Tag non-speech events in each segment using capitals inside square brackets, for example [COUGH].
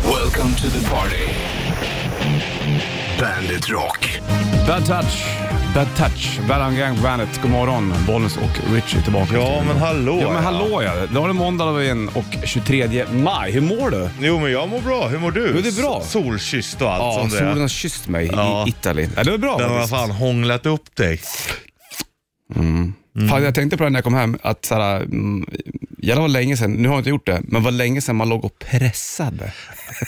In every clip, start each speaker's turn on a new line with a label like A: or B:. A: Welcome to the party. Bandit Rock.
B: Bad touch, bad touch, Valangang Vanet. God morgon, Bollnäs och Richie är tillbaka.
C: Ja, men hallå.
B: Ja men hallå ja. Då har det måndag igen och 23 maj. Hur mår du?
C: Jo, men jag mår bra. Hur mår du?
B: Jo, det är bra.
C: S- Solkysst och allt
B: Ja,
C: som det
B: solen
C: är.
B: har kysst mig
C: Ja.
B: i Italien. Ja, det var bra
C: Den har
B: faktiskt.
C: fan hånglat
B: [LAUGHS]
C: upp dig. Mm.
B: Fan, jag tänkte på det när jag kom hem, att såhär, mm, jävlar vad länge sedan, nu har jag inte gjort det, men vad länge sedan man låg och pressade.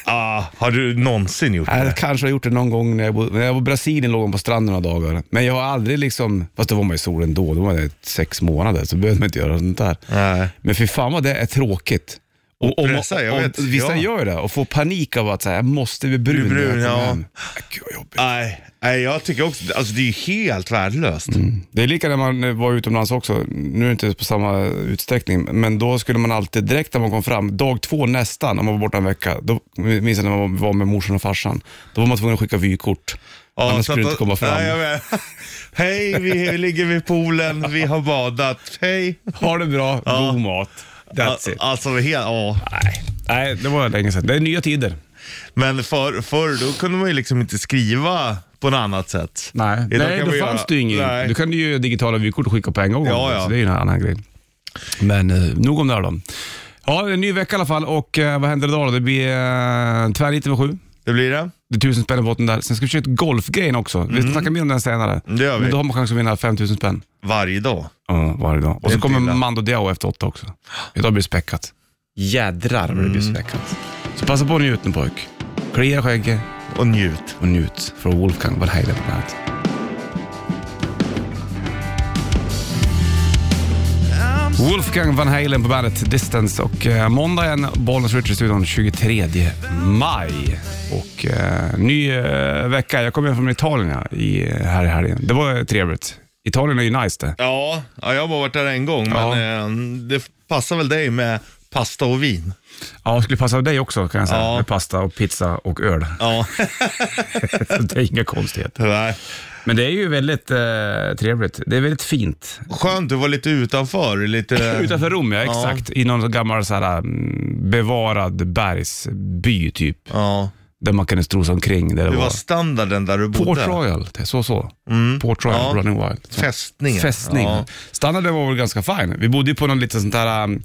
C: Ah, har du någonsin gjort
B: Jag
C: det?
B: kanske har gjort det någon gång när jag bodde, när jag var i Brasilien låg man på stranden några dagar. Men jag har aldrig liksom, fast då var man ju i solen då, då var jag sex månader, så behövde man inte göra sånt där.
C: Nej.
B: Men för fan vad det är tråkigt. Och, och,
C: pressa, jag vet.
B: vissa
C: Ja.
B: gör det och får panik av att säga, jag måste bli brun.
C: Bli brun,
B: när jag kommer
C: ja.
B: hem. Äh, Gud vad jobbigt.
C: Nej, nej, jag tycker också Alltså det är ju helt värdelöst.
B: Det är lika när man eh, var utomlands också, nu är det inte på samma utsträckning, men då skulle man alltid direkt när man kom fram, dag två nästan, om man var borta en vecka, då minns jag när man var med morsan och farsan, då var man tvungen att skicka vykort.
C: Ja,
B: Annars
C: så
B: skulle
C: att-
B: du inte komma fram.
C: Nej, jag vet. [LAUGHS] Hej, vi ligger vid poolen, vi har badat. Hej.
B: Ha det bra,
C: Ja.
B: god mat. That's it.
C: Alltså, helt, ja.
B: Nej. Nej, det var länge sedan. Det är nya tider.
C: Men för, förr då kunde man ju liksom inte skriva på något annat sätt.
B: Nej,
C: Idag
B: Nej
C: kan
B: då
C: man
B: fanns
C: göra-
B: det ju ingen.
C: Nej.
B: Du kan ju göra digitala vykort och skicka på en gång.
C: Ja, ja.
B: Så det är ju en annan grej. Men eh, nog om det här då. Ja, en ny vecka i alla fall och eh, vad händer idag då? Det blir eh, tvärnit över sju.
C: Det blir det.
B: Det är tusen spänn i botten där. Sen ska vi köra ett golfgrejen också. Vi ska snacka mer om den senare.
C: Mm. Det gör vi.
B: Men då har man chans att vinna 5000 spänn
C: Varje dag.
B: Ja, varje dag. Och så
C: Inte
B: kommer
C: illa.
B: Mando Diao efter åtta också. Idag blir det späckat. Jädrar vad det blir späckat. Så passa på att njuta nu pojk. Klia skägget
C: Och njut.
B: och njut från Wolfgang Van Halen på bandet. Wolfgang Van Halen på bandet Distance och eh, måndag igen, Bollnäs Ritchie i studion 23 maj. Och eh, ny eh, vecka. Jag kom hem från Italien ja, i, eh, här i helgen. Det var eh, trevligt. Italien är ju nice det.
C: Ja, ja, jag har bara varit där en gång,
B: Ja.
C: men eh, det passar väl dig med pasta och vin.
B: Ja, skulle passa dig också kan jag säga.
C: Ja.
B: Med pasta och pizza och öl. [LAUGHS]
C: [LAUGHS] Ja,
B: Så det är inga konstigheter.
C: tyvärr.
B: Men det är ju väldigt eh, trevligt. Det är väldigt fint.
C: Skönt, du var lite utanför. Lite...
B: [LAUGHS] Utanför Rom, ja. Exakt. I någon gammal så här, mm, bevarad bergsby typ.
C: Ja,
B: Där man kunde strosa omkring. Där det
C: det var
B: var
C: standarden där du
B: Port
C: bodde.
B: Royal, det är så så. Port Royal,
C: Ja.
B: Running Wild.
C: Fästningen.
B: Fästning.
C: Ja.
B: Standarden var väl ganska fin. Vi bodde ju på någon liten sån där, um,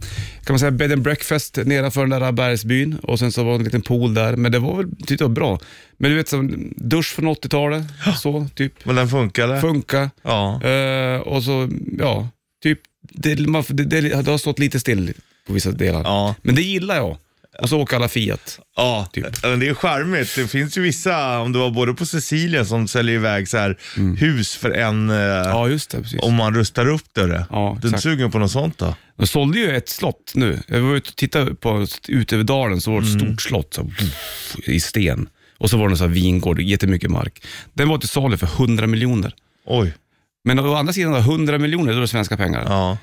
B: kan man säga bed and breakfast nedanför den där bergsbyn och sen så var det en liten pool där. Men det var väl, tyckte jag, bra. Men du vet, som dusch från 80-talet, så typ.
C: Men den funkade.
B: Funka.
C: ja.
B: Eh, och så, ja, typ, det, man, det, det, det har stått lite still på vissa delar.
C: Ja.
B: Men det gillar jag. Och så åker alla Fiat.
C: Ja,
B: Typ.
C: men det är charmigt. Det finns ju vissa, om det var både på Sicilien, som säljer iväg så här hus för en, eh,
B: Mm. Ja, just det. Precis.
C: om man rustar upp det.
B: Ja,
C: du är
B: exakt.
C: inte sugen på något sånt då?
B: De sålde ju ett slott nu. Jag var ute och tittade på, ut över dalen, så var det
C: Mm.
B: ett stort slott så, pff, i sten. Och så var det en sån här vingård, jättemycket mark. Den var till salu för 100 miljoner.
C: Oj.
B: Men å andra sidan, då, 100 miljoner, då är det svenska pengar.
C: Ja,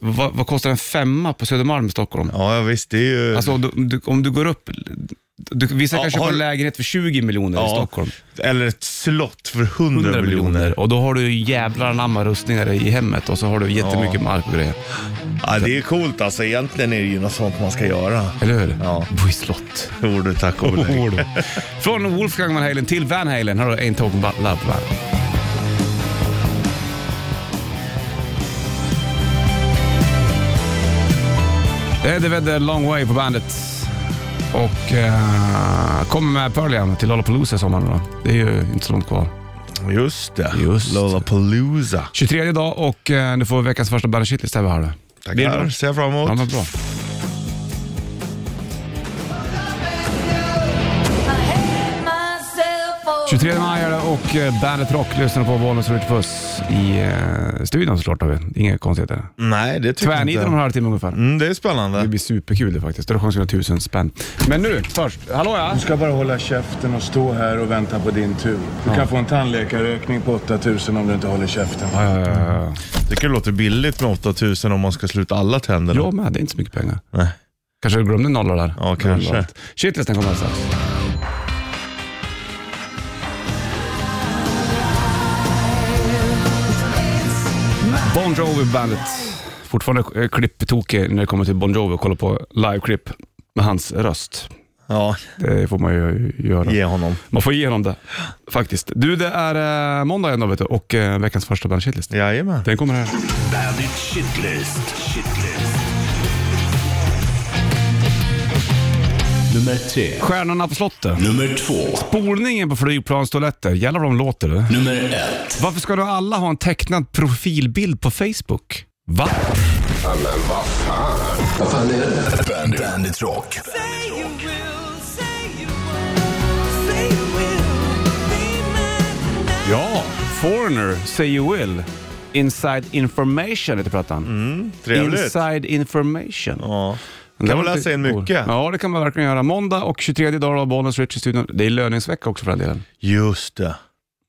B: Vad, vad kostar en femma på Södermalm i Stockholm?
C: ja visst. Det är ju...
B: Alltså, du, du, om du går upp, du, vissa
C: Ja,
B: kan köpa
C: har-
B: en lägenhet för 20 miljoner i
C: Ja.
B: Stockholm.
C: Eller ett slott för 100,
B: 100
C: miljoner.
B: miljoner. Och då har du ju jävlar anamma rustningar i hemmet och så har du jättemycket mark och grejer.
C: Ja, det är coolt alltså. Egentligen är det ju något sånt man ska göra.
B: Eller hur?
C: Ja.
B: Bo i slott.
C: Jo du, tack och belägg.
B: Ord. Från Wolfgang Van Halen till Van Halen. Här har du Ain't Talking About Love på bandet. Det är The Vedder Long Way på bandet. Och eh, kommer med Pearl Jam till Lollapalooza i sommar nu då. Det är ju inte så långt kvar.
C: Just det.
B: Just det.
C: Lollapalooza.
B: 23 dag och eh, du får veckans första Bandet Shitlist här vid halv. Blir det
C: Tackar.
B: bra?
C: Ser jag fram emot.
B: Ja, men bra.
D: myself for
B: 23 maj är det och eh, Bandet Rock lyssnar på Bollnäs och Puss i eh, studion såklart. Har vi. Inga konstigheter.
C: Nej, det tycker jag
B: Tvärniten om en
C: inte.
B: halvtimme ungefär.
C: Mm, det är
B: Det
C: spännande.
B: blir superkul det faktiskt. Då har du chans att vinna tusen spänn. Men nu först, hallå ja.
E: Du ska bara hålla käften och stå här och vänta på din tur. Du kan få en tandläkarräkning på 8000 om du inte håller käften.
B: Ja, ja, ja, ja.
C: Tycker det låter billigt med 8000 om man ska sluta alla tänder. då.
B: Jag med, det är inte så mycket pengar.
C: Nej.
B: Kanske du glömde nollor där.
C: Ja, kanske.
B: Shitlisten kommer strax. Bon Jovi bandet. Fortfarande eh, klipptokig när det kommer till Bon Jovi och kollar på liveklipp med hans röst.
C: Ja,
B: Det får man ju göra.
C: ge honom.
B: Man får igenom det, faktiskt. Du, det är eh, måndag ändå vet du, och eh, veckans första Bandit Shitlist.
C: Jajamän.
B: Den kommer här.
A: Bandit Shitlist. Shitlist. Nummer tre.
B: Stjärnorna på slottet.
A: Nummer två.
B: Spolningen på flygplanstoaletter. Jävlar vad de låter du.
A: Nummer ett.
B: Varför ska då alla ha en tecknad profilbild på Facebook? Va?
A: Bandit, Bandit Rock.
D: Say you will, say you will, say you will be mine tonight.
B: Ja, Foreigner, Say You Will. Inside Information heter plattan.
C: Mm, Trevligt.
B: Inside Information.
C: Ja.
B: Det
C: Kan
B: var
C: man läsa
B: lite
C: in
B: cool.
C: mycket.
B: Ja, det kan man verkligen göra. Måndag och 23 dagar av Bollnäs Rich i studion. Det är löningsvecka också för den delen.
C: Just det.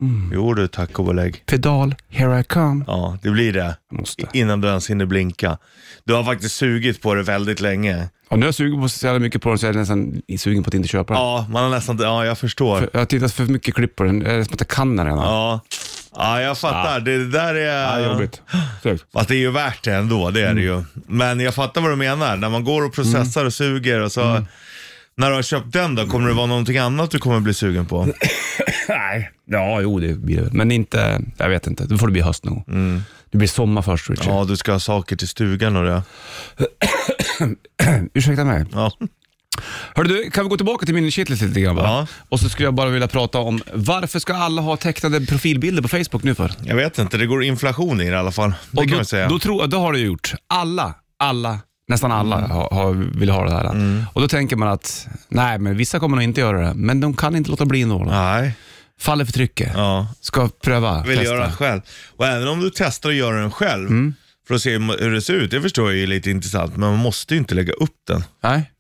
B: Mm.
C: Jo du, tack och belägg.
B: Pedal, Here I Come.
C: Ja, det blir det.
B: Måste.
C: Innan du ens hinner blinka. Du har faktiskt sugit på det väldigt länge.
B: Och nu är jag sugen på så jävla mycket på den så jag är nästan sugen på att inte köpa den.
C: Ja, man har nästan... Ja, jag förstår.
B: Jag har tittat för mycket klipp på den. Det är som att jag kan den redan.
C: Ja, ja jag fattar. Det där är...
B: Ja, jobbigt. Mm. Segt.
C: Fast det är ju värt det ändå, det är det ju. Men jag fattar vad du menar. När man går och processar och suger och så...
B: Mm.
C: När du har köpt den då, kommer det vara någonting annat du kommer bli
B: [CLEARS THROAT]
C: sugen på?
B: Nej. Ja, jo det blir det. väl. Men inte, jag vet inte. Då får det bli höst nog. Det blir sommar först Richard.
C: Mm. Ja, du ska ha saker till stugan och det.
B: Ursäkta mig.
C: Ja.
B: Hörru du, kan vi gå tillbaka till min shitlist lite grann? bara?
C: Ja.
B: Och så skulle jag bara vilja prata om varför ska alla ha tecknade profilbilder på Facebook nu för?
C: Jag vet inte, det går inflation i det i alla fall. Det
B: Och
C: kan
B: då,
C: man säga.
B: Då tror, jag- det har det gjort. Alla, alla, nästan alla
C: Mm.
B: har, har, vill ha det här. Och då tänker man att, nej men vissa kommer nog inte göra det, men de kan inte låta bli ändå. då.
C: Nej,
B: Faller för trycket.
C: ja.
B: Ska pröva,
C: Vill
B: testa. Mm.
C: göra den själv. Och även om du testar att göra den själv, för att se hur det ser ut, det förstår jag är lite intressant, men man måste ju inte lägga upp den.
B: Nej.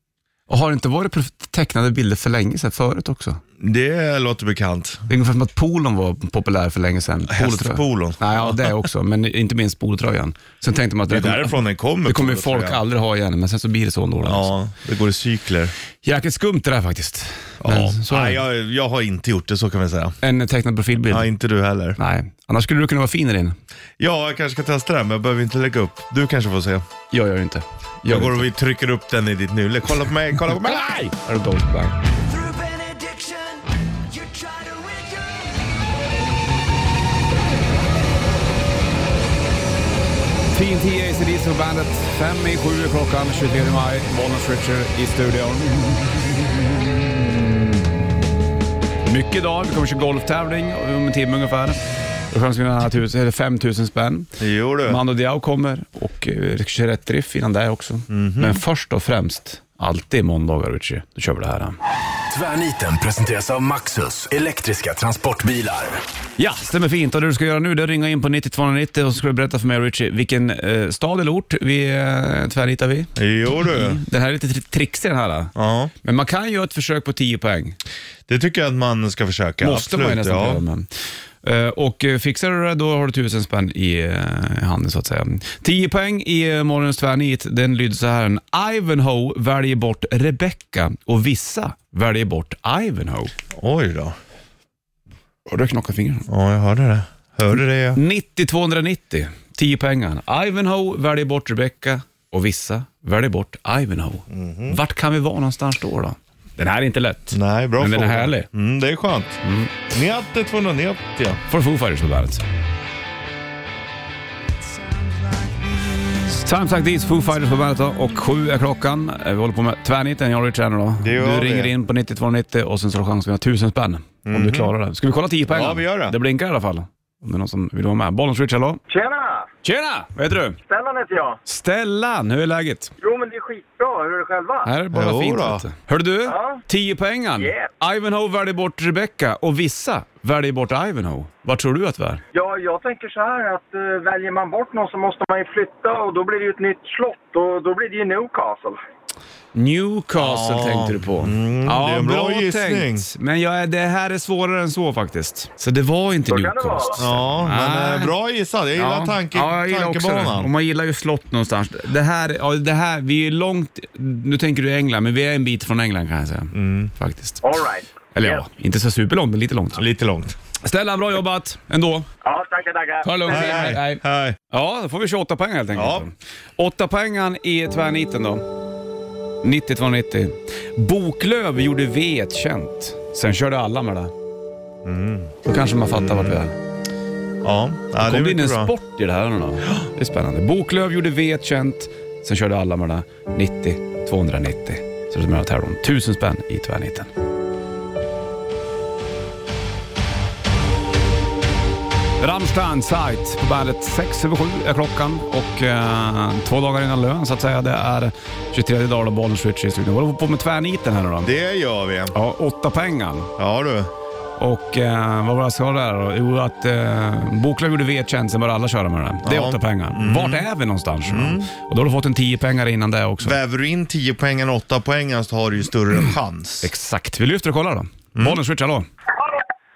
B: Och har det inte varit prof- tecknade bilder för länge sedan förut också?
C: Det låter bekant.
B: Det är ungefär som att polon var populär för länge sedan. Polotrö-
C: Hästpolon.
B: Nej, ja, det också, men inte minst polotröjan. Sen tänkte man att det,
C: Det är
B: kommer-
C: därifrån den kommer.
B: det kommer ju
C: tror
B: folk
C: jag.
B: aldrig ha igen, men sen så blir det så ändå. då, Alltså.
C: Ja, det går i cykler.
B: Jäkligt skumt det där faktiskt.
C: Ja.
B: Men så är
C: Nej,
B: det.
C: jag, jag har inte gjort det, så kan vi säga.
B: En tecknad profilbild.
C: Ja, inte du heller.
B: Nej, annars skulle du kunna vara fin i din.
C: Ja, jag kanske ska testa den, men jag behöver inte lägga upp. Du kanske får se. Jag,
B: Jag gör ju inte.
C: går
B: inte.
C: och vi trycker upp den i ditt nylle. Kolla på mig, kolla på mig!
B: Nej! Är du dåligt ibland?
D: Through benediction, you try to endure.
B: TNT ACDC på bandet. Fem i sju är klockan, 23 maj. Bollnäs Richard i studion. Mycket idag. Vi kommer köra golftävling om en timme ungefär. Då chans att vinna tusen- eller 5 000 spänn.
C: Jo du.
B: Mando Diao kommer och eh, kör rätt riff innan det också.
C: Mhm.
B: Men först och främst, alltid måndagar Richie. Då kör vi det här.
A: Tvärniten presenteras av Maxus. Elektriska transportbilar.
B: Ja, stämmer fint. Och det du ska göra nu det är att ringa in på 9290 och så ska du berätta för mig Richie vilken eh, stad eller ort vi eh, tvärnitar vi.
C: Jo du.
B: Den här är lite tri- trixig den här. då.
C: Ja,
B: Men man kan göra ett försök på 10 poäng.
C: det tycker jag att man ska försöka.
B: Måste man ju nästan göra. Men. Eh, Och eh, fixar du det då har du tusen spänn i eh, handen så att säga. 10 poäng i eh, morgonens tvärnit. Den lyder så här. Ivanhoe väljer bort Rebecca och vissa väljer bort Ivanhoe.
C: Oj då.
B: Har du knackat fingrarna?
C: Ja, jag hörde det. Hörde det ja.
B: 90-290. 10 pengar. Ivanhoe väljer bort Rebecca och vissa väljer bort Ivanhoe. Vart kan vi vara någonstans då? då? Den här är inte lätt.
C: Nej, bra
B: Men den är
C: fråga.
B: härlig.
C: Mm, det är skönt. Mm. 90 290.
B: Får Foo Fighters på bandet. Times like these, Foo Fighters på bandet då. och sju är klockan. Eh, Vi håller på med tvärniten, jag och Richard här nu då.
C: Det gör
B: Du
C: vi. Mhm.
B: ringer in på 9290 och sen så har du chans att vinna tusen spänn. Om du klarar det. Ska vi kolla 10 pengar?
C: Ja, vi gör det.
B: Det blinkar i alla fall. Om det är någon som vill vara med. Bollens Richard, hallå?
F: Tjena!
B: Tjena! Vad heter du?
F: Stellan heter jag.
B: Stellan, hur är läget?
F: Jo, men det är skitbra. Hur är det själva?
B: Här är det bara
C: Jo
B: fint.
C: då.
B: vet du. Hörde du?
F: Ja.
B: 10 poängen.
F: Yeah.
B: Ivanhoe väljer bort Rebecca och vissa väljer bort Ivanhoe. Vad tror du att vi är?
F: Ja, jag tänker så här att eh, väljer man bort någon så måste man ju flytta och då blir det ju ett nytt slott och då blir det ju Newcastle.
B: Newcastle
C: Ja.
B: tänkte du på.
C: Mm, det är en bra gissning.
B: Men jag, är- det här är svårare än så faktiskt. Så det var inte
F: Så kan det
B: Newcastle.
C: Ja, men
B: Nej.
C: eh, bra gissat. Jag gillar tanke,
B: Ah. ja, jag gillar också det.
C: tankebanan.
B: Och man gillar ju slott någonstans. Det här, ja, det här, vi är långt, nu tänker du England, men vi är en bit från England kan jag säga.
C: Mm.
B: Faktiskt.
F: All right.
B: Eller
F: Yes.
B: ja, inte så superlångt, men lite långt.
C: Lite långt.
B: Stellan, bra jobbat ändå.
F: Ja, tackar, tackar.
B: Ta det lugnt.
C: Hej,
B: Hej, hej.
C: hej. hej.
B: Ja, då får vi 28 poäng helt enkelt.
C: Ja.
B: Åtta poängen i tvärniten då. 90 290. Boklöv gjorde V1 känt. Sen körde alla med det. Då kanske man fattar vart vi är.
C: Ja, ja det
B: Kom det
C: är
B: in en
C: mycket bra.
B: sport i det här nu då? Det är spännande. Boklöv gjorde V1 känt. Sen körde alla med det. 90 290. Så det är med att tävla om 1000 spänn i tvärniten. Rammstein Sight på bandet 6 över 7 är klockan och eh, två dagar innan lön så att säga. Det är 23 dagar då Bollnäs Switch är i studion. Vad håller vi på med tvärniten här nu då?
C: Det gör vi.
B: Ja, åtta pengar.
C: Ja du.
B: Och eh, vad var det jag sa där då? Jo, att eh, Boklöv gjorde V-tjänst, sen började alla köra med den. Det är
C: Ja. Mm.
B: åtta pengar. Vart är vi någonstans? Och då har du fått en tio pengar innan det också.
C: Väver du in 10 poängen och 8 poängen så alltså, har du ju större chans.
B: Exakt. Vi lyfter och kollar
C: Mm.
B: då. Bollnäs Switch, hallå?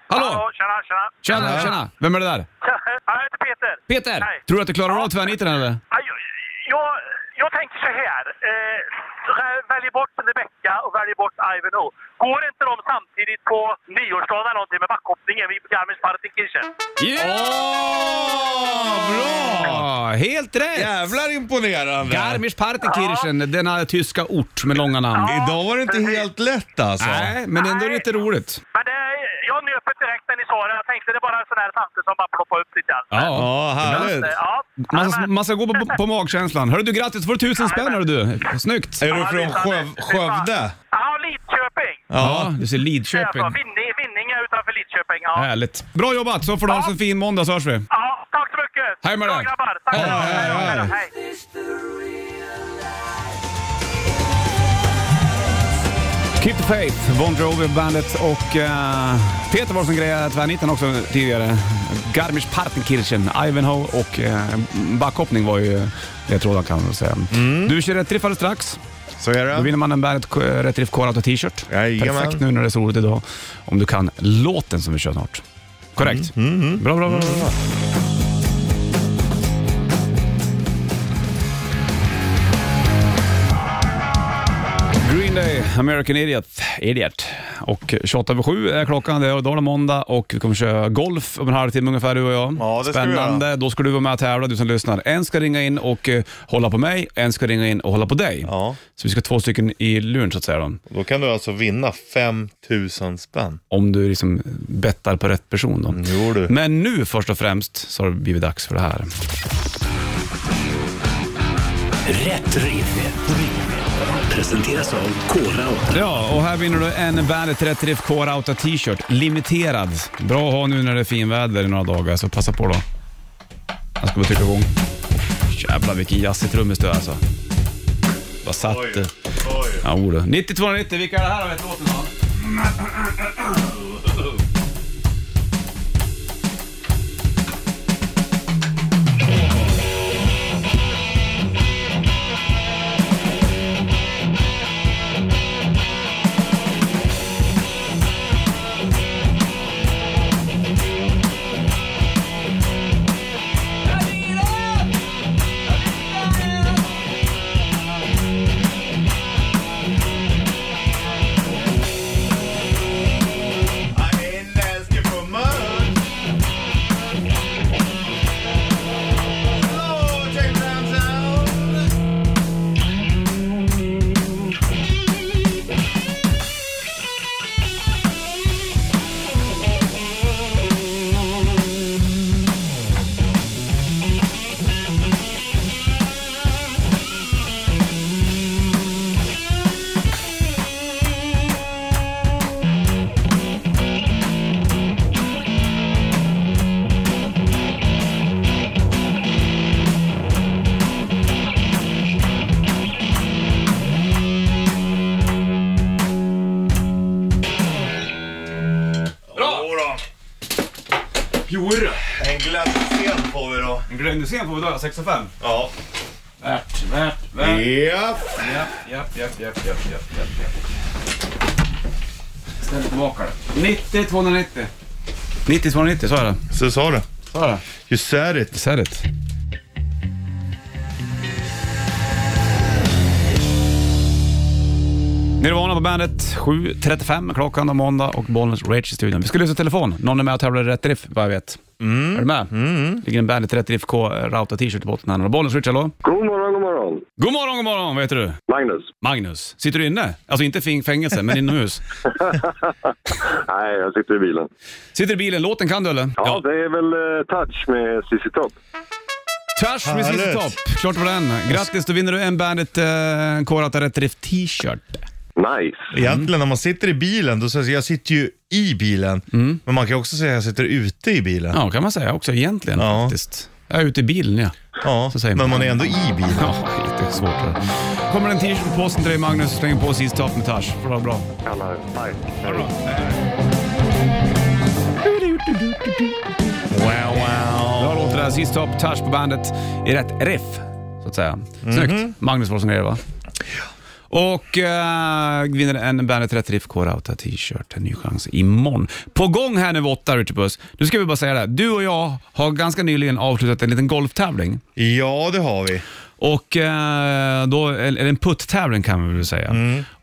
G: Hallå!
B: Hallå!
G: Tjena, tjena! [LAUGHS]
B: Tjena, tjena! Vem är det där?
G: Jag heter Peter.
B: Peter!
G: Hej.
B: Tror du att du klarar av tvärniten eller?
G: Aj, Jag, jag tänker så här. Eh, välj bort Rebecca och välj bort Ivanhoe. Går inte de samtidigt på nyårsdagen eller någonting med backhoppningen vid Garmisch-Partenkirchen?
B: Bra! Helt rätt!
C: Jävlar imponerande!
B: Garmisch-Partenkirchen, denna tyska ort med långa namn.
C: Idag var det inte helt lätt alltså.
B: Nej, men ändå lite roligt.
G: Men det, jag nöp det direkt när ni sa det. Jag tänkte det är bara en sån här tanke som bara ploppar upp lite grann. Eh,
C: Ja, härligt.
G: Ja.
B: Man ska, man ska gå på, på magkänslan. Hörru du, grattis! Du får tusen spänn hörru du. Snyggt!
C: Är du från Sjöv- Skövde?
G: Ja, Lidköping.
B: Ja, du ser
G: Köping.
B: Lidköping.
G: Vinning, Vinninge utanför Lidköping. Ja.
B: Härligt. Bra jobbat, så får du ha en fin måndag så hörs vi.
G: Ja, tack så mycket!
B: Hej med
G: Bra,
B: dig.
G: grabbar! Tack
B: Hej,
G: så mycket.
B: hej, hej.
G: då. hej!
B: Keep the faith, Bon Jovi bandet och eh, Peter var som grejade tvärniten också tidigare. Garmisch Partenkirchen, Ivanhoe och eh, backhoppning var ju eh, det tråden kan man säga. Du kör rätt riff alldeles strax.
C: Så är
B: Då
C: det.
B: vinner man en Bandet K- eh, Rätt Riff Core Auto T-shirt.
C: Jajamän.
B: Perfekt nu när det är så roligt idag. Om du kan låten som vi kör snart. Korrekt?
C: Mm,
B: Bra, bra, bra. bra, bra.
C: Mm.
B: Green Day, American Idiot, Idiot. Och 28 över 7 är klockan, det är idag är det måndag och vi kommer köra golf om en halvtimme ungefär du och jag.
C: Ja, det ska vi
B: Spännande, då ska du vara med och tävla du som lyssnar. En ska ringa in och eh, hålla på mig, en ska ringa in och hålla på dig.
C: Ja.
B: Så vi ska ha två stycken i luren så att säga. Då.
C: Då kan du alltså vinna 5000 spänn.
B: Om du liksom bettar på rätt person. Då.
C: Jo, du.
B: Men nu först och främst så har det blivit dags för det här.
A: Rätt riff. Presenteras av Kora Auto.
B: Ja, och här vinner du en Bandet Rätt Riff Core Auta t-shirt. Limiterad. Bra att ha nu när det är finväder i några dagar, så passa på då. Jag ska bara trycka igång. Jävlar vilken jazzig trummis du är alltså. Vad satt du? Ja, o, du. 9290, vilka är det här då? Vet låten då? Jodå!
C: En glädjescen får vi då.
B: En Glenn får vi dra 6 5.
C: Ja.
B: Värt, värt, värt.
C: Japp.
B: Japp, japp, japp, japp, japp, japp, japp, japp. Ställ tillbaka det. 90 290. 90 290, sa jag det?
C: Så sa du.
B: Sa jag det?
C: You said it.
B: Said it. Nirvana på bandet. 7.35 klockan och måndag och Bollnäs Rage i studion. Vi ska lyssna på telefon. Någon är med och tävlar i Rätt Riff, vad jag vet. Är du med? Mm. ligger en Bandet Rätt Riff K eh, Rauta t-shirt i botten här. Bollnäs Rage, hallå?
H: God morgon, god morgon.
B: God morgon, god morgon, vad heter du?
H: Magnus.
B: Magnus. Sitter du inne? Alltså inte i fängelse, men inomhus.
H: Nej, jag sitter i bilen.
B: Sitter i bilen. Låten kan du eller?
H: Ja, det är väl eh, Touch med Cissi Topp.
B: Tvärs med Cissi
C: Härligt.
B: Topp. Klart var den. Grattis, då vinner du en Bandet eh, K Rauta Rätt Riff t-shirt.
H: Nice.
B: Mm.
C: Egentligen när man sitter i bilen, då säger jag, jag sitter ju i bilen.
B: Mm.
C: Men man kan också säga jag sitter ute i bilen.
B: Ja, kan man säga också egentligen
C: Ja.
B: faktiskt. Jag är ute i bilen ja.
C: Ja,
B: Så säger man.
C: men man är ändå i bilen.
B: Ja, lite svårt det där. Kommer en t-shirt på posten till dig Magnus, släng på sist top med Tash. Bra, bra.
H: Kallar Park.
C: Wow, wow.
B: Bra låt det där. Sist top, Tash på bandet i rätt riff, så att säga. Snyggt. Magnus var som grejer va? Och eh, vinner en Bandet Rätt Riff Core Outa t-shirt. En ny chans imorgon. På gång här nu vid åtta, Richard Puss. Nu ska vi bara säga det. här. Du och jag har ganska nyligen avslutat en liten golftävling.
C: Ja, det har vi.
B: Och eh, då, eller en putttävling kan man väl säga.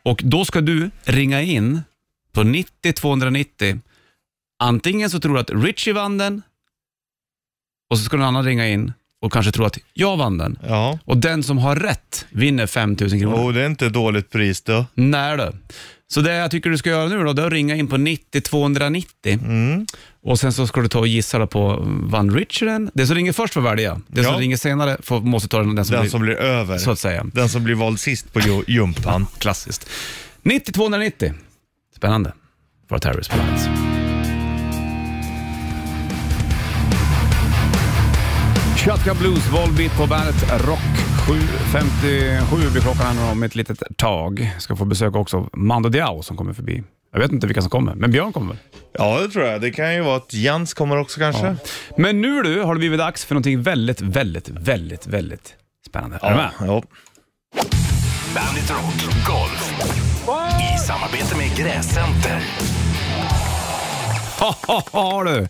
B: Och då ska du ringa in på 90 290. Antingen så tror du att Richie vann den och så ska någon annan ringa in och kanske tro att jag vann den.
C: Ja.
B: Och den som har rätt vinner 5000 kronor.
C: Och det är inte ett dåligt pris då.
B: Nej du. Så det jag tycker du ska göra nu då, det är att ringa in på 90 290 och sen så ska du ta och gissa då på vann Richie den? Den som ringer först får välja. Den
C: Ja.
B: som ringer senare får, måste ta den som,
C: Den
B: blir-
C: som blir över.
B: Mm. så att säga.
C: Den som blir vald sist på ju- jumpan.
B: Klassiskt. 90-290. Spännande. Våra Terrorist på bandet. Shotgun Blues, Volbeat på bandet Rock. 7.57 blir klockan här om ett litet tag. Ska få besöka också Mando Diao som kommer förbi. Jag vet inte vilka som kommer, men Björn kommer väl?
C: Ja, det tror jag. Det kan ju vara att Jans kommer också kanske. Ja,
B: Men nu du, har det blivit dags för någonting väldigt, väldigt, väldigt, väldigt spännande. Är du med?
C: ja.
A: Bandit Rock Golf. I samarbete med Gräscenter.
B: Ha, ha, ha du!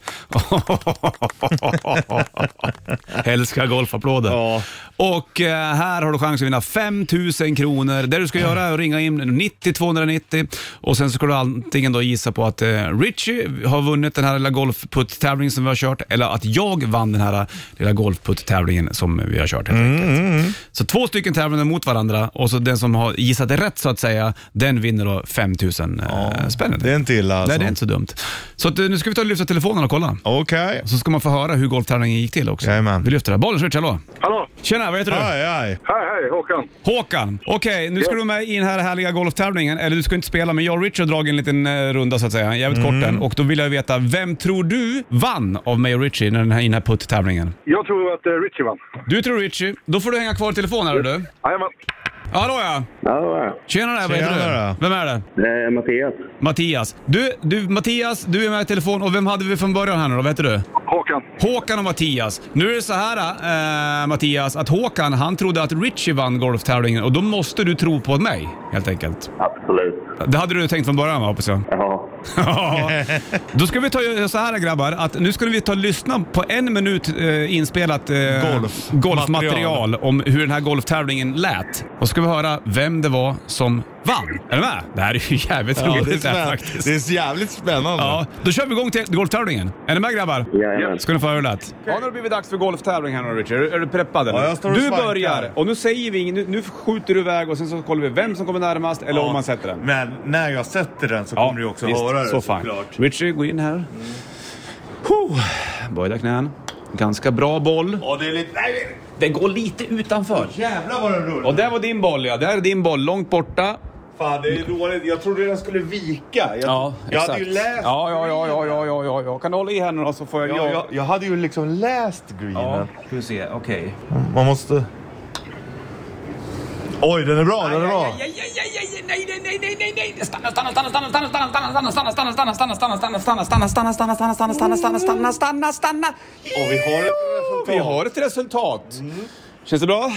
B: Älskar golfapplåder.
C: Ja.
B: Och eh, här har du chans att vinna 5 000 kronor. Det du ska göra är att ringa in 90 290 och sen så ska du antingen då gissa på att eh, Richie har vunnit den här lilla golfputt-tävlingen som vi har kört eller att jag vann den här lilla golfputt-tävlingen som vi har kört helt
C: Mm,
B: enkelt. Så två stycken tävlingar mot varandra och så den som har gissat rätt så att säga, den vinner då 5 000 eh, spänn.
C: Det är inte illa alltså.
B: Nej, det är inte så dumt. Så att, eh, nu ska vi ta och lyfta telefonen och kolla.
C: Okej.
B: Så ska man få höra hur golftävlingen gick till också.
C: Jajamän.
B: Vi lyfter det. Bollen switch, hallå?
F: Hallå!
B: Tjena, vad heter du?
C: Aj, aj.
F: Hej, hej, Håkan!
B: Håkan. Okej, nu ska du med i den här härliga golftävlingen. Eller du ska inte spela, men jag och Richard har dragit en liten eh, runda så att säga. Jävligt
C: Mm.
B: kort den. Och då vill jag veta, vem tror du vann av mig och Richie när den här, i den här putt-tävlingen?
F: Jag tror att eh, Richie vann.
B: Du tror Richie. Då får du hänga kvar i telefonen här du.
F: Jajamän.
B: Hallå ja!
H: Ja, det var jag.
B: Tjena där, vad heter
C: Tjena
B: du? Vem är det?
H: Det är Mattias.
B: Mattias. Du, du, Mattias, du är med i telefon. Och vem hade vi från början här nu då? Vad heter du?
F: Håkan.
B: Håkan och Mattias. Nu är det så här eh, Mattias, att Håkan han trodde att Richie vann golftävlingen och då måste du tro på mig helt enkelt.
H: Absolut.
B: Det hade du tänkt från början va, hoppas jag?
H: Ja.
B: Ja. då ska vi ta så här grabbar, att nu ska vi ta och lyssna på en minut eh, inspelat eh,
C: Golf.
B: golfmaterial om hur den här golftävlingen lät. Och ska vi höra vem det var som vann. Är du med? Det här är ju jävligt
C: Ja,
B: roligt
C: det, är
B: det här,
C: spänn...
B: faktiskt.
C: det är jävligt spännande.
B: Ja, då kör vi igång till golftävlingen. Är ni med grabbar?
H: Jajamän.
B: Ska ni få höra hur det lät. Ja, nu har det blivit dags för golftävling här nu Richard. Är du preppad eller?
C: Ja, jag står och
B: Du
C: svankar.
B: börjar och nu säger vi ing- nu, nu skjuter du iväg och sen så kollar vi vem som kommer närmast eller om man sätter den.
C: Men när jag sätter den så kommer du också
B: visst.
C: höra det
B: så fan.
C: såklart.
B: Richard, gå in här. Mm. Böjda knän. Ganska bra boll.
C: Ja, det är lite... Nej,
B: Den går lite utanför.
C: jävlar vad den rullar.
B: Och där var din boll ja. Där är din boll, långt borta.
C: Fan, det är dåligt. Jag trodde den skulle vika. Jag, jag hade ju läst...
B: Ja, ja, ja, ja, ja, ja, ja, ja. Kan du hålla i här nu då så får jag...
C: Jag, jag, jag hade ju liksom läst greenen.
B: ska vi se. Okej.
C: Man måste... Oj, den är bra, den är bra.
I: Aj, aj, aj, aj, aj, nej, nej, nej, nej, nej, nej. Stanna, stanna, stanna, stanna, stanna, stanna, stanna, stanna, stanna, stanna, stanna, stanna, stanna, stanna, stanna, stanna, stanna, stanna, stanna, stanna, stanna, stanna, stanna.
C: Och vi har ett resultat.
B: Vi har ett resultat. Känns det bra?